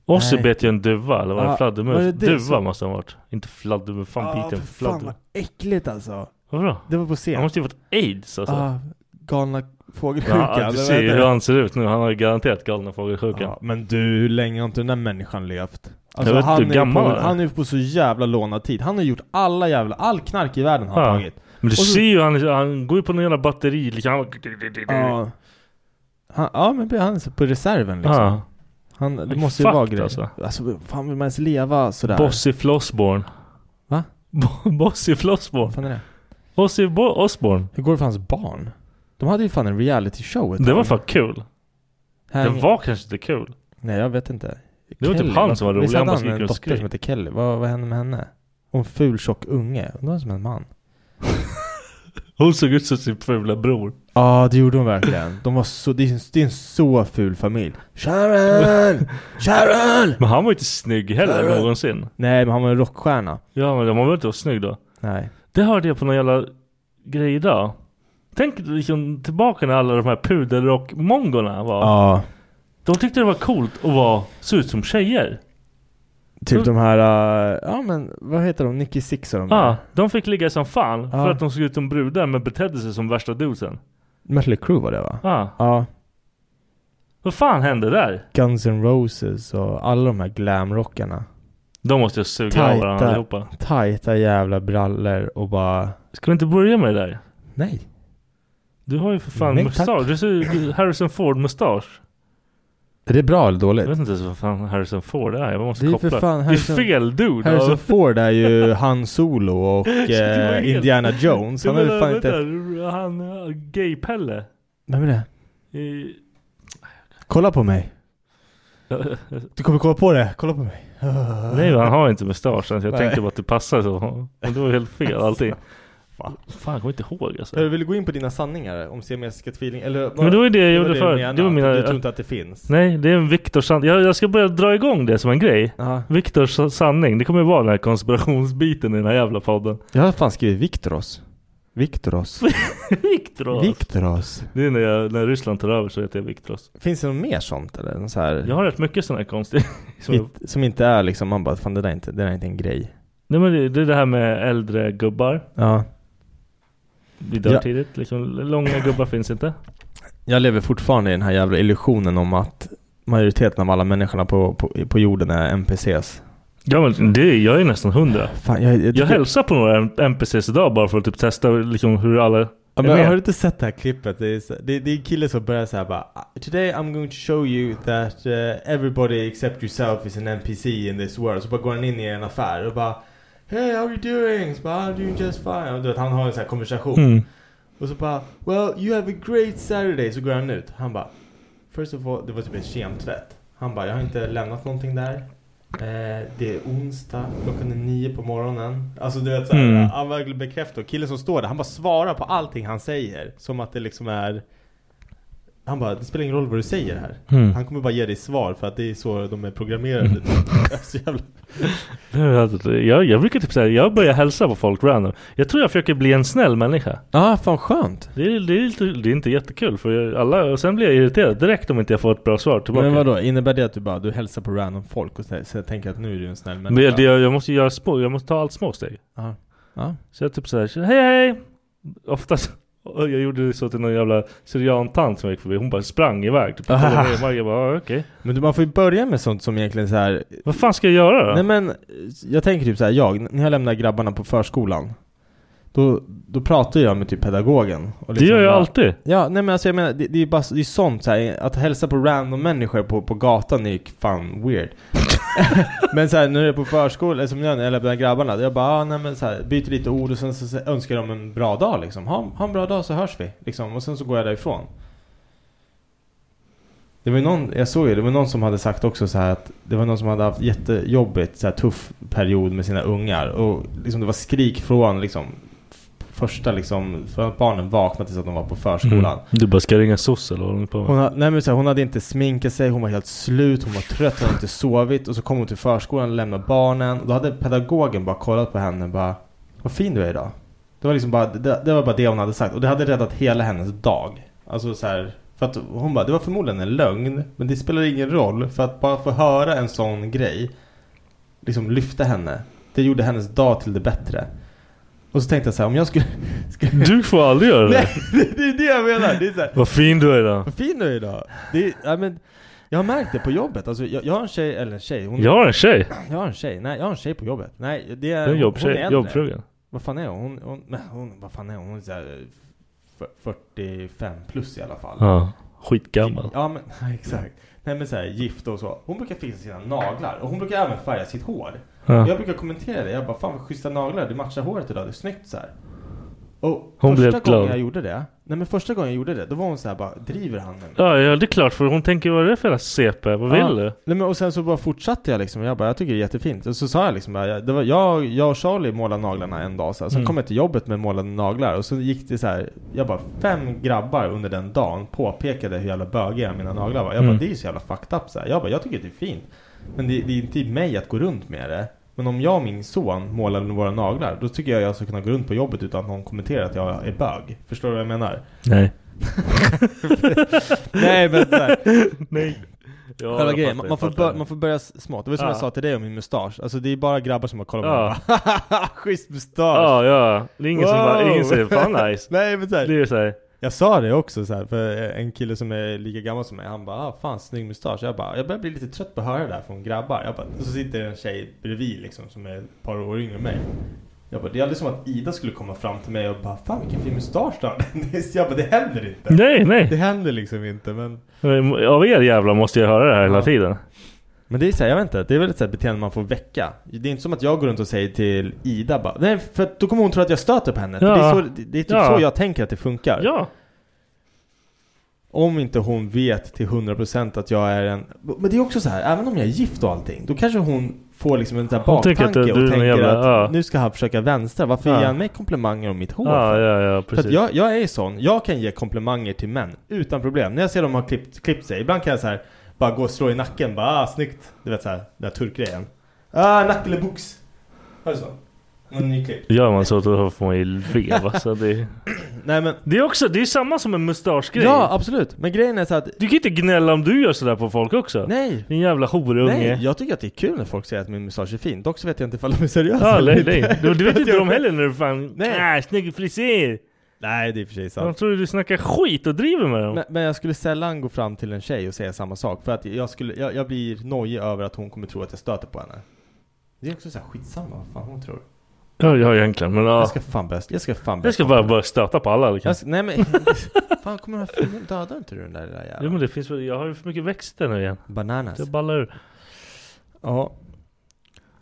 A: Ozzy
C: Nej.
A: bet ju en duva, eller var det
C: Ja,
A: en
C: var
A: fladdermus?
C: det det
A: duva
C: som-
A: måste han ha varit. Inte fladdermus, Ah, fan
C: Ja,
A: biter en
C: för fan vad
A: fladdermus.
C: äckligt alltså.
A: Vadå?
C: Det var på scen.
A: Han måste ju ha fått aids alltså.
C: Ja, Ah, galna fågelsjukan.
A: Ja, du
C: eller vad
A: ser ju
C: heter
A: hur
C: det?
A: han ser ut nu. Han har ju garanterat galna fågelsjukan.
C: Ja, men du, hur länge har inte den där människan levt? Alltså,
A: Jag vet
C: han,
A: inte hur
C: är ju
A: gammal
C: på,
A: han är.
C: han är ju på så jävla lånad tid. Han har gjort alla jävla, all knark i världen har han
A: Ja.
C: tagit.
A: Men du
C: Och så-
A: ser ju, han, han går ju på någon jävla batteri liksom. Han...
C: Ja. Han, ja men han är på reserven liksom.
A: Ja.
C: Han, det
A: Han är
C: måste ju vara
A: fucked,
C: grejer. Alltså.
A: alltså.
C: fan vill man ens leva sådär?
A: Bossy Flossborn.
C: Va?
A: Bossy Flossborn. Vad
C: fan är det?
A: Bossy Bo- Osborn.
C: Hur går det för hans barn? De hade ju fan en reality show ett
A: Det var
C: tag.
A: fan kul.
C: Här-
A: Det var kanske inte kul.
C: Nej jag vet inte.
A: Det var typ han som var rolig.
C: Visst
A: Han
C: hade
A: bara
C: han
A: gick
C: en
A: runt och
C: dotter som
A: skrek.
C: hette Kelly? Vad, vad hände med henne? Och en ful tjock unge. Undrar vad som hände med han?
A: Hon såg ut som sin fula bror.
C: Ja, det gjorde hon verkligen. De var så, det är en, det är en så ful familj. Sharon! Sharon!
A: Men han var ju inte snygg heller
C: Äh.
A: någonsin.
C: Nej, men han var en rockstjärna.
A: Ja men de var väl inte vara snygg då?
C: Nej.
A: Det hörde jag på någon jävla grej idag. Tänk liksom tillbaka när alla de här pudelrock-mongorna var.
C: Ja,
A: De tyckte det var coolt att vara, se ut som tjejer.
C: typ de här, eh, ja men vad heter de? Nicky Six och de
A: Ja,
C: där.
A: de fick ligga som fan för
C: Ja.
A: att de såg ut som brudar men betedde sig som värsta dudesen.
C: Mötley Crüe var det va?
A: Ja.
C: Ja.
A: Vad fan hände där?
C: Guns N' Roses och alla de här glamrockarna.
A: De måste ju suga av varandra
C: Tajta,
A: allihopa.
C: tajta jävla brallor och bara...
A: Ska vi inte börja med det där?
C: Nej.
A: Du har ju för fan
C: Nej,
A: mustasch. Du ser ju Harrison Ford-mustasch.
C: Är det bra eller dåligt?
A: Jag vet inte ens vad fan Harrison Ford är. Jag måste
C: Det är ju
A: koppla.
C: för fan Harrison-
A: det är fel dude.
C: Harrison
A: Ja.
C: Ford är ju Han Solo och
A: Det var
C: eh,
A: helt-
C: Indiana Jones.
A: Du
C: Han har ju
A: menar,
C: fan inte...
A: vänta, Han, eh, Gay-Pelle.
C: Vem är det?
A: I-
C: Kolla på mig. Du kommer kolla på det. Kolla på mig.
A: Nej han har inte mustasch. Alltså. Jag
C: Nej.
A: tänkte bara att det passar så. Men det var ju helt fel allting.
C: Fan,
A: jag kommer inte ihåg alltså.
C: Du vill gå in på dina sanningar om siamesiska tvillingar? Eller,
A: Men det var ju det jag gjorde
C: du
A: förut.
C: menade,
A: Det var
C: att
A: mina-
C: Du tror inte att det finns?
A: Nej, det är en Viktors sanning. Jag, jag ska börja dra igång det som en grej. Viktors sa- sanning. Det kommer ju vara den här konspirationsbiten i den här jävla podden.
C: Jag har fan skrivit Viktoros. Viktoros.
A: Viktoros.
C: Viktoros.
A: Det är när, jag, när Ryssland tar över så heter jag Viktoros.
C: Finns det något mer sånt eller? Någon Så här,
A: Jag har rätt mycket sådana här konstiga... som jag-
C: hit- Som inte är liksom, man bara fan det där är inte, det där är inte en grej.
A: Nej men det, det är det här med äldre gubbar.
C: Ja.
A: Vi dör
C: Ja.
A: tidigt. Liksom, långa gubbar finns inte.
C: Jag lever fortfarande i den här jävla illusionen om att majoriteten av alla människorna på, på, på jorden är NPCs.
A: Ja men det, jag är nästan hundra.
C: Fan, jag, jag,
A: Jag hälsar på några NPCs idag bara för att typ testa liksom hur alla
C: Ja,
A: Är du
C: men
A: med?
C: har du inte sett det här klippet? Det är, så- det, det är en kille som börjar såhär bara "Ah, Today I'm going to show you that eh, everybody except yourself is an NPC in this world. Så bara går han in i en affär och bara Hey how are you doing? Så bara, I'm doing just fine. Och du vet, han har en sån här konversation.
A: Mm.
C: Och så bara Well you have a great Saturday. Så går han ut. Han bara First of all, det var typ en kemtvätt. Han bara jag har inte lämnat någonting där. Eh, det är onsdag, klockan är nio på morgonen. Alltså du vet såhär,
A: Mm.
C: han verkligen bekräftar. Och Killen som står där, han bara svarar på allting han säger. Som att det liksom är... Han bara, det spelar ingen roll vad du säger här.
A: Mm.
C: Han kommer bara ge dig svar för att det är så de är programmerade. så jävla...
A: Jag, jag brukar typ säga, jag börjar hälsa på folk random. Jag tror jag försöker bli en snäll människa.
E: Ja, ah, fan skönt.
A: Det är, det, är lite, det är inte jättekul för jag, alla, och sen blir jag irriterad direkt om inte jag får ett bra svar tillbaka.
C: Men vadå, innebär det att du bara du hälsar på random folk och så, så tänker att nu är du en snäll
A: Men jag, det, jag måste göra små, jag måste ta allt små steg.
C: Ja. Ja.
A: Så jag typ såhär, hej hej! Oftast, och jag gjorde det så till någon jävla syriantant som jag gick förbi, hon bara sprang iväg. Typ,
C: Ah.
A: Jag bara, jag bara, "Ah, okej.
C: Men du, man får ju börja med sånt som egentligen så här.
A: Vad fan ska jag göra då?
C: Nej men, eh, jag tänker typ så här, jag, n- när jag lämnar grabbarna på förskolan då, då pratar jag med typ pedagogen och liksom
A: Det gör jag alltid.
C: Ja, nej men alltså jag menar, det, det är ju bara det är sånt så här, att hälsa på random människor på, på gatan är ju fan weird Men såhär, när jag är på förskolan, som jag när jag lämnar grabbarna, jag bara ah, nej men så här, byter lite ord och sen så, så önskar de en bra dag liksom ha, ha en bra dag så hörs vi, liksom, och sen så går jag därifrån det var ju någon, jag såg ju, det var någon som hade sagt också så här att det var någon som hade haft jättejobbigt, så här tuff period med sina ungar. Och liksom det var skrik från liksom f- första liksom, från att barnen vaknade tills att de var på förskolan.
A: Mm. Du bara, ska jag ringa soc eller vad håller ni på med?
C: Hon, ha, nej men så här, hon hade inte sminkat sig, hon var helt slut, hon var trött, hon hade inte sovit. Och så kom hon till förskolan och lämnade barnen. Och då hade pedagogen bara kollat på henne och bara Vad fin du är idag. Det var liksom bara det, det, var bara det hon hade sagt. Och det hade räddat hela hennes dag. Alltså så här, för att hon bara, det var förmodligen en lögn. Men det spelar ingen roll. För att bara få höra en sån grej. Liksom lyfte henne. Det gjorde hennes dag till det bättre. Och så tänkte jag så här, om jag skulle...
A: Du får aldrig göra det.
C: Nej, det, det är det jag menar. Det är så här,
A: Vad fin du är idag.
C: vad fin du är idag! Det är, ja, men, jag har märkt det på jobbet, alltså, jag, jag har en tjej, eller en tjej hon,
A: Jag har en tjej.
C: Jag har en tjej, nej jag har en tjej på jobbet Nej det
A: Det
C: är,
A: är en
C: hon-
A: jobbtjej,
C: hon är äldre.
A: jobbfrugan.
C: Vad fan är hon? Hon, hon, nej, hon vad fan är hon? Hon är så här, eh, f- 45 plus i alla fall
A: Ja, skitgammal.
C: Ja men, nej, exakt Nej men såhär gift och så Hon brukar fixa sina naglar och hon brukar även färga sitt hår
A: Ja.
C: Jag brukar kommentera det, jag bara fan vad schyssta naglar, du matchar håret idag, det är snyggt såhär Och
A: Hon blev
C: första
A: helt
C: gången
A: glad.
C: jag gjorde det Nej men första gången jag gjorde det, då var hon såhär bara, driver han med mig?
A: Ja, ja, det är klart för hon tänker vad är det för jävla CP? Vad
C: Ja.
A: vill du?
C: Nej, men och sen så bara fortsatte jag liksom, jag bara jag tycker det är jättefint. Och så sa jag liksom bara, jag- det var jag, jag och Charlie målade naglarna en dag så här. Sen
A: Mm.
C: kom jag till jobbet med målade naglar och så gick det så här. jag bara fem grabbar under den dagen påpekade hur jävla bögiga mina naglar var. Jag bara
A: Mm.
C: det är så jävla fucked up så här. Jag bara jag tycker det är fint. Men det, det är inte i mig att gå runt med det. Men om jag och min son målar våra naglar, då tycker jag jag ska kunna gå runt på jobbet utan att någon kommenterar att jag är bög. Förstår du vad jag menar?
A: Nej.
C: Nej men såhär.
A: Nej. Ja,
C: Själva
A: jag fattar,
C: grejen, man,
A: jag
C: man, får
A: fattar.
C: bör, man får börja s- smått. Det var som
A: Ja.
C: jag sa till dig om min mustasch. Alltså det är bara grabbar som har kollat på mig och
A: Ja.
C: bara, Schysst mustasch!
A: Ja, ja. Det är ingen som bara, ingen säger fan nice.
C: Nej men såhär.
A: Det är så här.
C: Jag sa det också så här, för en kille som är lika gammal som mig, han bara ah, fan snygg mustasch. Jag bara, jag börjar bli lite trött på att höra det där från grabbar. Jag bara, och så sitter en tjej bredvid liksom som är ett par år yngre än mig. Jag bara, det är aldrig som att Ida skulle komma fram till mig och bara fan vilken fin mustasch du har. Jag bara, det händer inte.
A: Nej, nej.
C: Det händer liksom inte men
A: Men Av er jävlar måste jag höra det här hela tiden.
C: Men det är såhär, jag vet inte, det är väl ett så här beteende man får väcka Det är inte som att jag går runt och säger till Ida bara Nej för att då kommer hon tro att jag stöter på henne för
A: Ja.
C: det, är så, det, det är typ
A: Ja.
C: så jag tänker att det funkar
A: Ja
C: Om inte hon vet till 100% att jag är en Men det är också så här, även om jag är gift och allting Då kanske hon får liksom en sån här
A: Hon tänker
C: baktanke
A: att du är
C: och
A: någon
C: tänker
A: jävla-
C: att
A: ja.
C: Nu ska han försöka vänstra, varför
A: Ja.
C: ger han mig komplimanger om mitt hår?
A: Ja,
C: för?
A: ja, ja,
C: För att
A: precis.
C: jag, jag är sån, jag kan ge komplimanger till män utan problem. När jag ser dem ha klippt, klippt sig, ibland kan jag så här bara gå och slå i nacken, bara ah, snyggt. Du vet såhär, den där turkgrejen. Ah, nack eller box. Har du så? En nyklippt.
A: Gör man så då får man ju veva. Så det...
C: Nej, men...
A: det är också, det är samma som en mustaschgrej.
C: Ja, absolut. Men grejen är så att...
A: Du kan inte gnälla om du gör sådär på folk också.
C: Nej.
A: Din jävla horunge.
C: Nej, jag tycker att det är kul när folk säger att min mustasch är fin. Dock så vet jag inte ifall de är seriösa
A: Ja,
C: eller
A: nej,
C: inte.
A: nej. Du, du vet
C: För att
A: inte
C: Alltså, jag-
A: de heller när du fan...
C: Nej.
A: Nej, snygg frisyr!
C: Nej, det är i och för sig sant.
A: De tror du snackar skit och driver med dem.
C: Men, men jag skulle sällan gå fram till en tjej och säga samma sak. För att jag, skulle, jag, jag blir nojig över att hon kommer tro att jag stöter på henne. Det är också såhär, skitsamma vad fan hon tror.
A: Ja, ja egentligen. Men, ja.
C: Jag ska fan börja, jag ska fan börja
A: Jag ska bara börja stöta på alla. liksom.
C: Jag
A: Kan.
C: ska, nej men, fan kommer den här filmen, dödar inte du den där lilla jäveln?
A: Ja, men det finns väl, jag har ju för mycket växter nu
C: Alltså.
A: igen.
C: Bananas.
A: Det ballar ur.
C: Ja.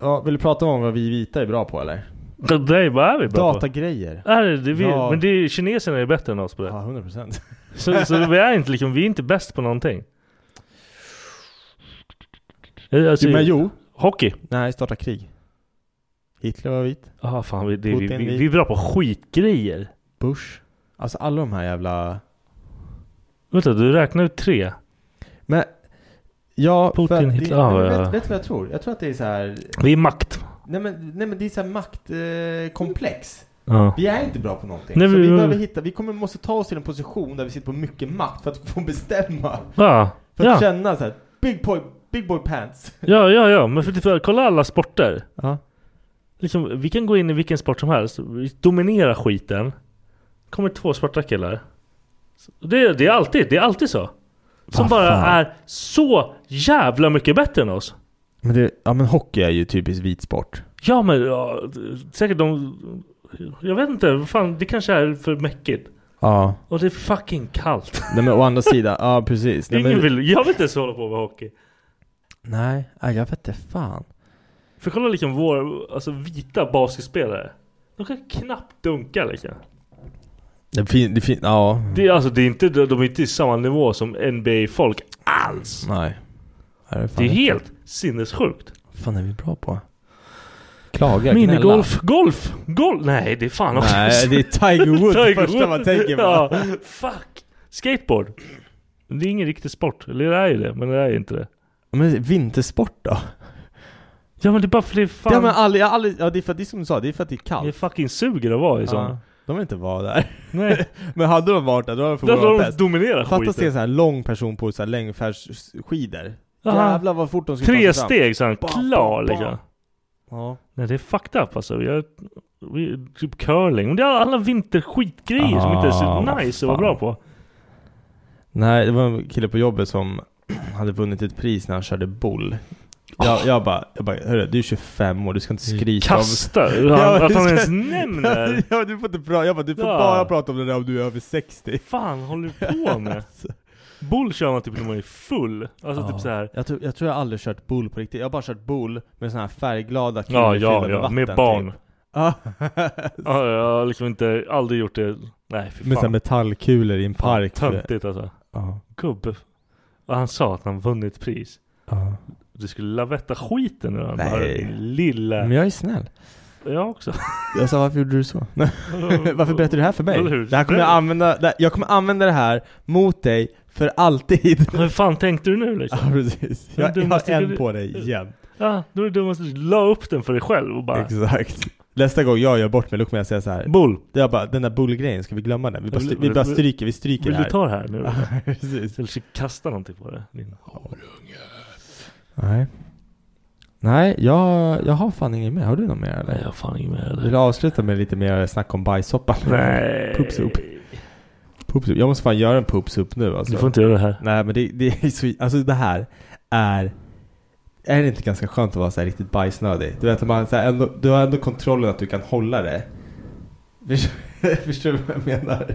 C: ja, vill du prata om vad vi vita är bra på eller?
A: Det där, vad är vi bra på?
C: Datagrejer.
A: Är det, det är vi,
C: Ja.
A: Men det är, kineserna är bättre än oss på det.
C: Ja, 100%.
A: Så, så vi, är inte, liksom, vi är inte bäst på någonting. Eh, Alltså,
C: Jo, men jo.
A: Hockey.
C: Nej, starta krig. Hitler var vit.
A: Ah, fan, vi, det, vi,
C: Putin
A: vi,
C: vit.
A: vi är bra på skitgrejer.
C: Bush. Alltså alla de här jävla...
A: Vänta, du räknar ut tre.
C: Men... Ja,
A: Putin,
C: för att det,
A: Hitler, ah,
C: men
A: ja.
C: vet, vet du vad jag tror? Jag tror att det är så här...
A: Vi är makt.
C: Nej men, nej, men det är så här maktkomplex. Eh, komplex.
A: Ja.
C: Vi är inte bra på någonting.
A: Nej,
C: så
A: vi-
C: vi,
A: vi-
C: behöver hitta, vi kommer, måste ta oss till en position där vi sitter på mycket makt för att få bestämma.
A: Ja.
C: För att
A: Ja.
C: känna så här, big boy, big boy pants.
A: Ja, ja, ja. Men för, för, kolla alla sporter.
C: Ja.
A: Liksom, vi kan gå in i vilken sport som helst. Vi dominerar skiten. kommer två svarta killar. Det, det, är, alltid, det är alltid så. Som
C: Vad
A: bara
C: Ah, fan.
A: är så jävla mycket bättre än oss.
C: Men det, ja men hockey är ju typiskt vit sport.
A: Ja men ja, säkert de... Jag vet inte, vad fan, det kanske är för mäckigt.
C: Ja.
A: Och det är fucking kallt.
C: Nej men å andra sidan, ja precis. Nej,
A: Ingen
C: men,
A: vill, jag vill inte ens hålla på med hockey.
C: nej, ja, jag vet inte fan.
A: För kolla liksom vår, alltså vita basketspelare. De kan knappt dunka liksom.
C: Det fin, det fin, ja.
A: Det är alltså, det är inte, de är inte i samma nivå som NBA-folk alls.
C: Nej. Ja, är fan
A: Det är
C: inte-
A: helt sinnessjukt.
C: Vad fan är vi bra på? Klaga,
A: Minigolf, golf, golf! Nej det är fan också...
C: Nej, det är Tiger Woods första man tänker på.
A: ja, fuck! Skateboard. Det är ingen riktig sport. Eller det är ju det, men det är ju inte det.
C: Men vintersport då?
A: Ja men det är bara för det är fan...
C: Ja men aldrig, jag har aldrig, ja, det är för att det är som du sa, det är för att det är kallt.
A: Det fucking suger att vara i
C: ja.
A: sådana.
C: De vill inte vara där.
A: Nej.
C: men hade de varit där, då hade de
A: Då hade
C: förmodligen
A: de
C: varit bäst.
A: dominerat
C: Fatta att se en
A: skiten.
C: sån här lång person på så här längdfärdsskidor.
A: Ja.
C: Jävlar vad fort de skulle
A: Tre
C: ta sig fram.
A: steg så är han
C: Bam, bam,
A: klar
C: bam.
A: liksom.
C: Ja.
A: Nej det är fucked up alltså. Vi har, vi, typ curling. Men det är alla vinterskitgrejer som inte är så
C: Ah,
A: nice att
C: vad
A: vara bra
C: fan.
A: på.
C: Nej, det var en kille på jobbet som hade vunnit ett pris när han körde boll.
A: Ah.
C: Jag, jag bara, jag bara hörru, du är 25 år, du ska inte
A: Mm.
C: skrika om...
A: Kasta!
C: Ja,
A: Han,
C: du
A: att han
C: ska-
A: ens nämner!
C: Ja, du får inte prata, jag bara, du får
A: Ja.
C: bara prata om det där om du är över Alltså. 60.
A: fan håller du på med? Bull kör man typ när man är full. Alltså
C: Ah.
A: typ så här.
C: Jag, tror, jag tror jag aldrig kört bull på riktigt, jag har bara kört bull med såna här färgglada kulor
A: Ja,
C: fyllda
A: ja, ja. Med
C: vatten,
A: barn.
C: Typ. Ja.
A: Ja, jag har liksom inte, aldrig gjort det. Nej fy
C: med såna här
A: fan.
C: metallkulor i en
A: Fan,
C: park.
A: Töntigt alltså.
C: Ja.
A: Gubbe. Och han sa att han vunnit pris.
C: Ja.
A: Du skulle lavetta skiten ur honom.
C: Nej.
A: bara, din Lilla.
C: Men jag är snäll.
A: Jag också.
C: Jag sa varför gjorde du så? varför berättar du det här för mig?
A: Eller hur?
C: Det här kommer jag, använda, det, jag kommer använda det här mot dig för alltid.
A: Hur fan tänkte du nu
C: Ja
A: liksom?
C: precis.
A: Den
C: Jag, jag har
A: dummaste
C: en
A: grej-
C: på dig jämt.
A: Ja, då är det dummaste. La upp den för dig själv och bara.
C: Exakt. Nästa gång jag gör bort mig, då kommer jag säga så här.
A: Bull.
C: Jag bara, den där bullgrejen, ska vi glömma den? Vi bara,
A: Vill-
C: stry- vi bara
A: vill-
C: stryker, vi stryker
A: Vill
C: det här.
A: du ta det här nu?
C: Ja, precis.
A: Eller ska jag kasta någonting på det? Din horunge.
C: Nej. Nej, jag, jag har fan inget mer. Har du något mer eller?
A: Nej, jag har fan inget mer
C: Vill
A: eller?
C: du avsluta med lite mer snack om bajssoppa?
A: Nej.
C: Poopsoup. Poopsoup. Jag måste fan göra en poopsoup nu alltså.
A: Du får inte göra det här.
C: Nej men det, det är så, alltså det här är är det inte ganska skönt att vara så här riktigt bajsnödig? Du vet att man så här ändå, du har ändå kontrollen att du kan hålla det. Förstår- Förstår du vad jag menar?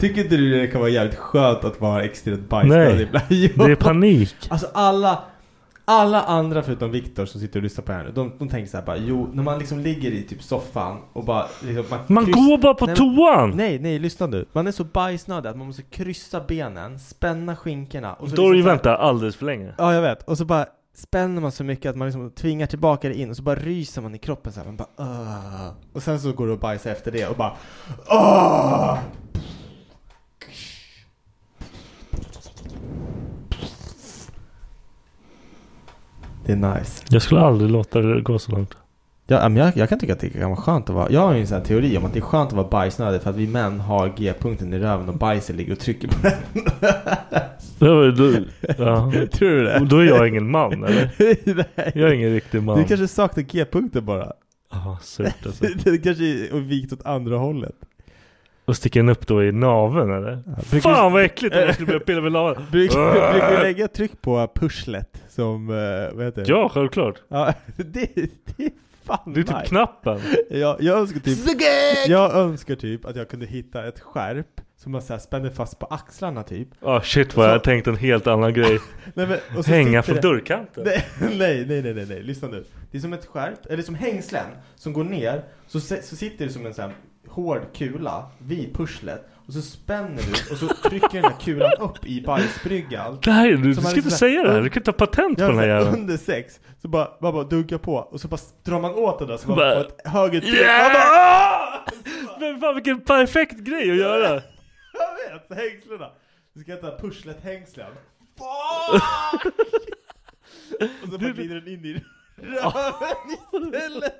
C: Tycker inte du det kan vara jävligt skönt att vara extremt bajsnödig
A: Nej.
C: ibland? Jo.
A: Det är panik.
C: Alltså alla, alla andra förutom Viktor som sitter och lyssnar på det här nu, de, de tänker så här bara jo, när man liksom ligger i typ soffan och bara liksom,
A: Man
C: kryss-
A: går bara på
C: Nej, men-
A: toan!
C: Nej, nej, lyssna nu. Man är så bajsnödig att man måste kryssa benen, spänna skinkorna. Och så
A: Då har du ju
C: liksom så här-
A: väntat alldeles för länge.
C: Ja, jag vet. Och så bara spänner man så mycket att man liksom tvingar tillbaka det in och så bara ryser man i kroppen så här. Man bara "Åh." Och sen så går du och bajsar efter det och bara Åh! Det är nice.
A: Jag skulle aldrig låta det gå så långt.
C: Ja, men jag, jag kan tycka att det kan vara skönt att vara... Jag har ju en sån här teori om att det är skönt att vara bajsnödig för att vi män har G-punkten i röven och bajset ligger och trycker på den.
A: Du, du, ja.
C: Tror du det?
A: Och Då är jag ingen man eller?
C: Nej.
A: Jag är ingen riktig man.
C: Du kanske saknar G-punkten bara.
A: Ah, surt alltså.
C: Det kanske är vikt åt andra hållet.
A: Och sticker den upp då i naveln eller?
C: brukar-
A: Fan Äh. vad äckligt om jag skulle börja pilla med naveln.
C: Brukar, brukar du lägga tryck på pusslet som, eh, vad heter det?
A: Ja, självklart.
C: Ja, det, det är fan
A: Det är typ
C: nice.
A: knappen.
C: Jag, jag önskar typ...
A: Zigek!
C: Jag önskar typ att jag kunde hitta ett skärp som man så här spänner fast på axlarna typ.
A: Ja Ah, shit vad jag
C: Så-
A: har tänkt en helt annan grej.
C: Nej, men, och så
A: Hänga
C: sitter
A: från
C: det-
A: dörrkanten.
C: Nej, nej, nej, nej, nej, nej, lyssna nu. Det är som ett skärp, eller som hängslen som går ner. Så, se- så sitter det som en sån här hård kula vid pusslet. Och så spänner du och så trycker den här kulan upp i bajsbryggan.
A: Det här är- du
C: Som
A: ska
C: är
A: inte
C: så
A: säga det här. Du kan ta patent på
C: Ja,
A: den här
C: så
A: jäveln.
C: Alltså, Under sex, så bara, bara, bara dugga på. Och så bara drar man åt det där så man
A: Bara-
C: får ett högre tryck.
A: Yeah!
C: Man bara, "Ah!"
A: Men fan vilken perfekt grej att göra.
C: Jag vet, hängslena. Du ska heta pusslet hängslen. Och så bara glider den in i röven istället.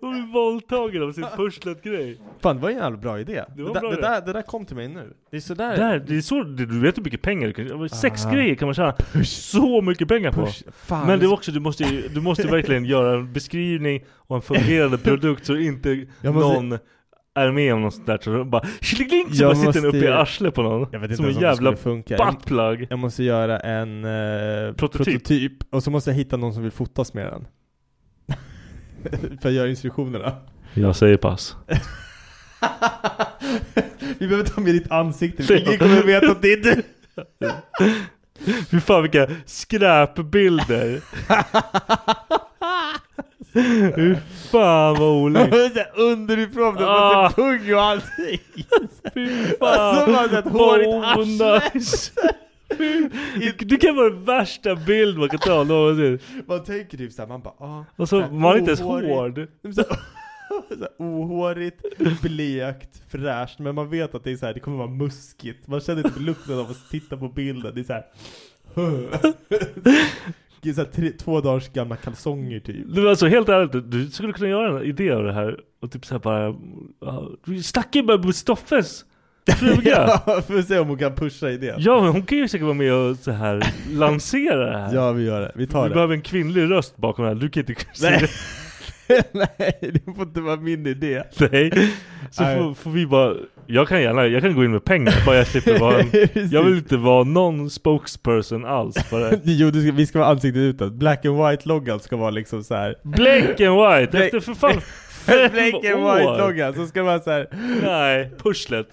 A: Hon blir våldtagen av sin pusslet-grej.
C: Fan det var en jävla bra idé.
A: Det var
C: där-
A: bra
C: det,
A: idé.
C: där, det där kom till mig nu. Det är sådär.
A: Där, det är så, du vet hur mycket pengar du kan Sex
C: Ah.
A: grejer kan man tjäna så mycket pengar på.
C: Push. Fan.
A: Men det är också, du måste, ju- du måste verkligen göra en beskrivning och en fungerande produkt så inte
C: Jag måste-
A: någon är med om något sånt där. Så de bara tjilingling så
C: Jag
A: bara sitter den uppe i
C: måste-
A: arslet på någon.
C: Jag vet inte
A: som en
C: ens om det
A: jävla
C: skulle funka.
A: buttplug.
C: Jag måste göra en eh,
A: Prototyp.
C: prototyp. och så måste jag hitta någon som vill fotas med den. För jag gör instruktionerna.
A: Jag säger pass.
C: Vi behöver ta med ditt ansikte, för ingen kommer veta att det är du.
A: Fy fan vilka skräpbilder. Fy fan vad olämpligt.
C: Underifrån, det var
A: Ah.
C: så pung och allting.
A: Fy
C: Alltså bara så ett hårigt arsle.
A: arsle. Det kan vara den värsta bild man kan ta någonsin.
C: Man tänker typ såhär, man bara ah,
A: Och så
C: här
A: man är inte ens
C: ohårig-
A: hård.
C: Så här- så här Ohårigt, blekt, fräscht, men man vet att det är så här, det kommer vara muskigt. Man känner typ lukten av att titta på bilden, det är såhär Det är så här, tre, två dagars gamla kalsonger typ.
A: Du, alltså helt ärligt, du skulle kunna göra en idé av det här och typ såhär bara... ja, Du stack in med Mustaffes fruga!
C: Ja, får se om hon kan pusha idén.
A: Ja men hon kan ju säkert vara med och så här lansera det här.
C: Ja, vi gör det, vi tar
A: Vi
C: det.
A: behöver en kvinnlig röst bakom det här, du kan inte säga
C: Nej.
A: det.
C: Nej, det får inte vara min idé.
A: Nej. Så
C: Nej.
A: får, får vi bara, jag kan gärna, jag kan gå in med pengar bara jag slipper vara en,
C: Precis.
A: Jag vill inte vara någon spokesperson alls för det.
C: Jo, du ska, vi ska vara ansiktet utåt. Black and white-loggan ska vara liksom så här.
A: Black and white, efter för fan fem
C: Black and
A: år.
C: white-loggan, så ska man så här.
A: Nej, pushlet.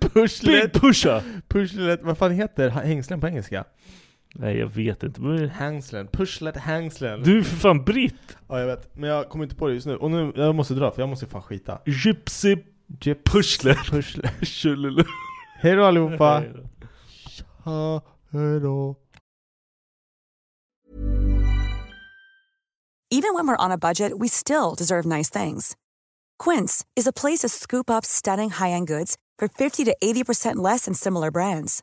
C: Pushlet.
A: Big pusha.
C: Pushlet, vad fan heter ha- hängslen på engelska?
A: Nej jag vet inte. Men-
C: Hängslen, pushlet hängslen.
A: Du är för fan britt.
C: Ja jag vet, men jag kommer inte på det just nu. Och nu, jag måste dra för jag måste fan skita.
A: Gypsy
C: Gyps-
A: pushlet.
C: Pushlet.
A: Tjolilu.
C: Hej då allihopa!
A: Hej då.
C: Tja, hej då.
E: Even when we're on a budget, we still deserve nice things. Quince is a place to scoop up stunning high end goods for 50 to 80% less than similar brands.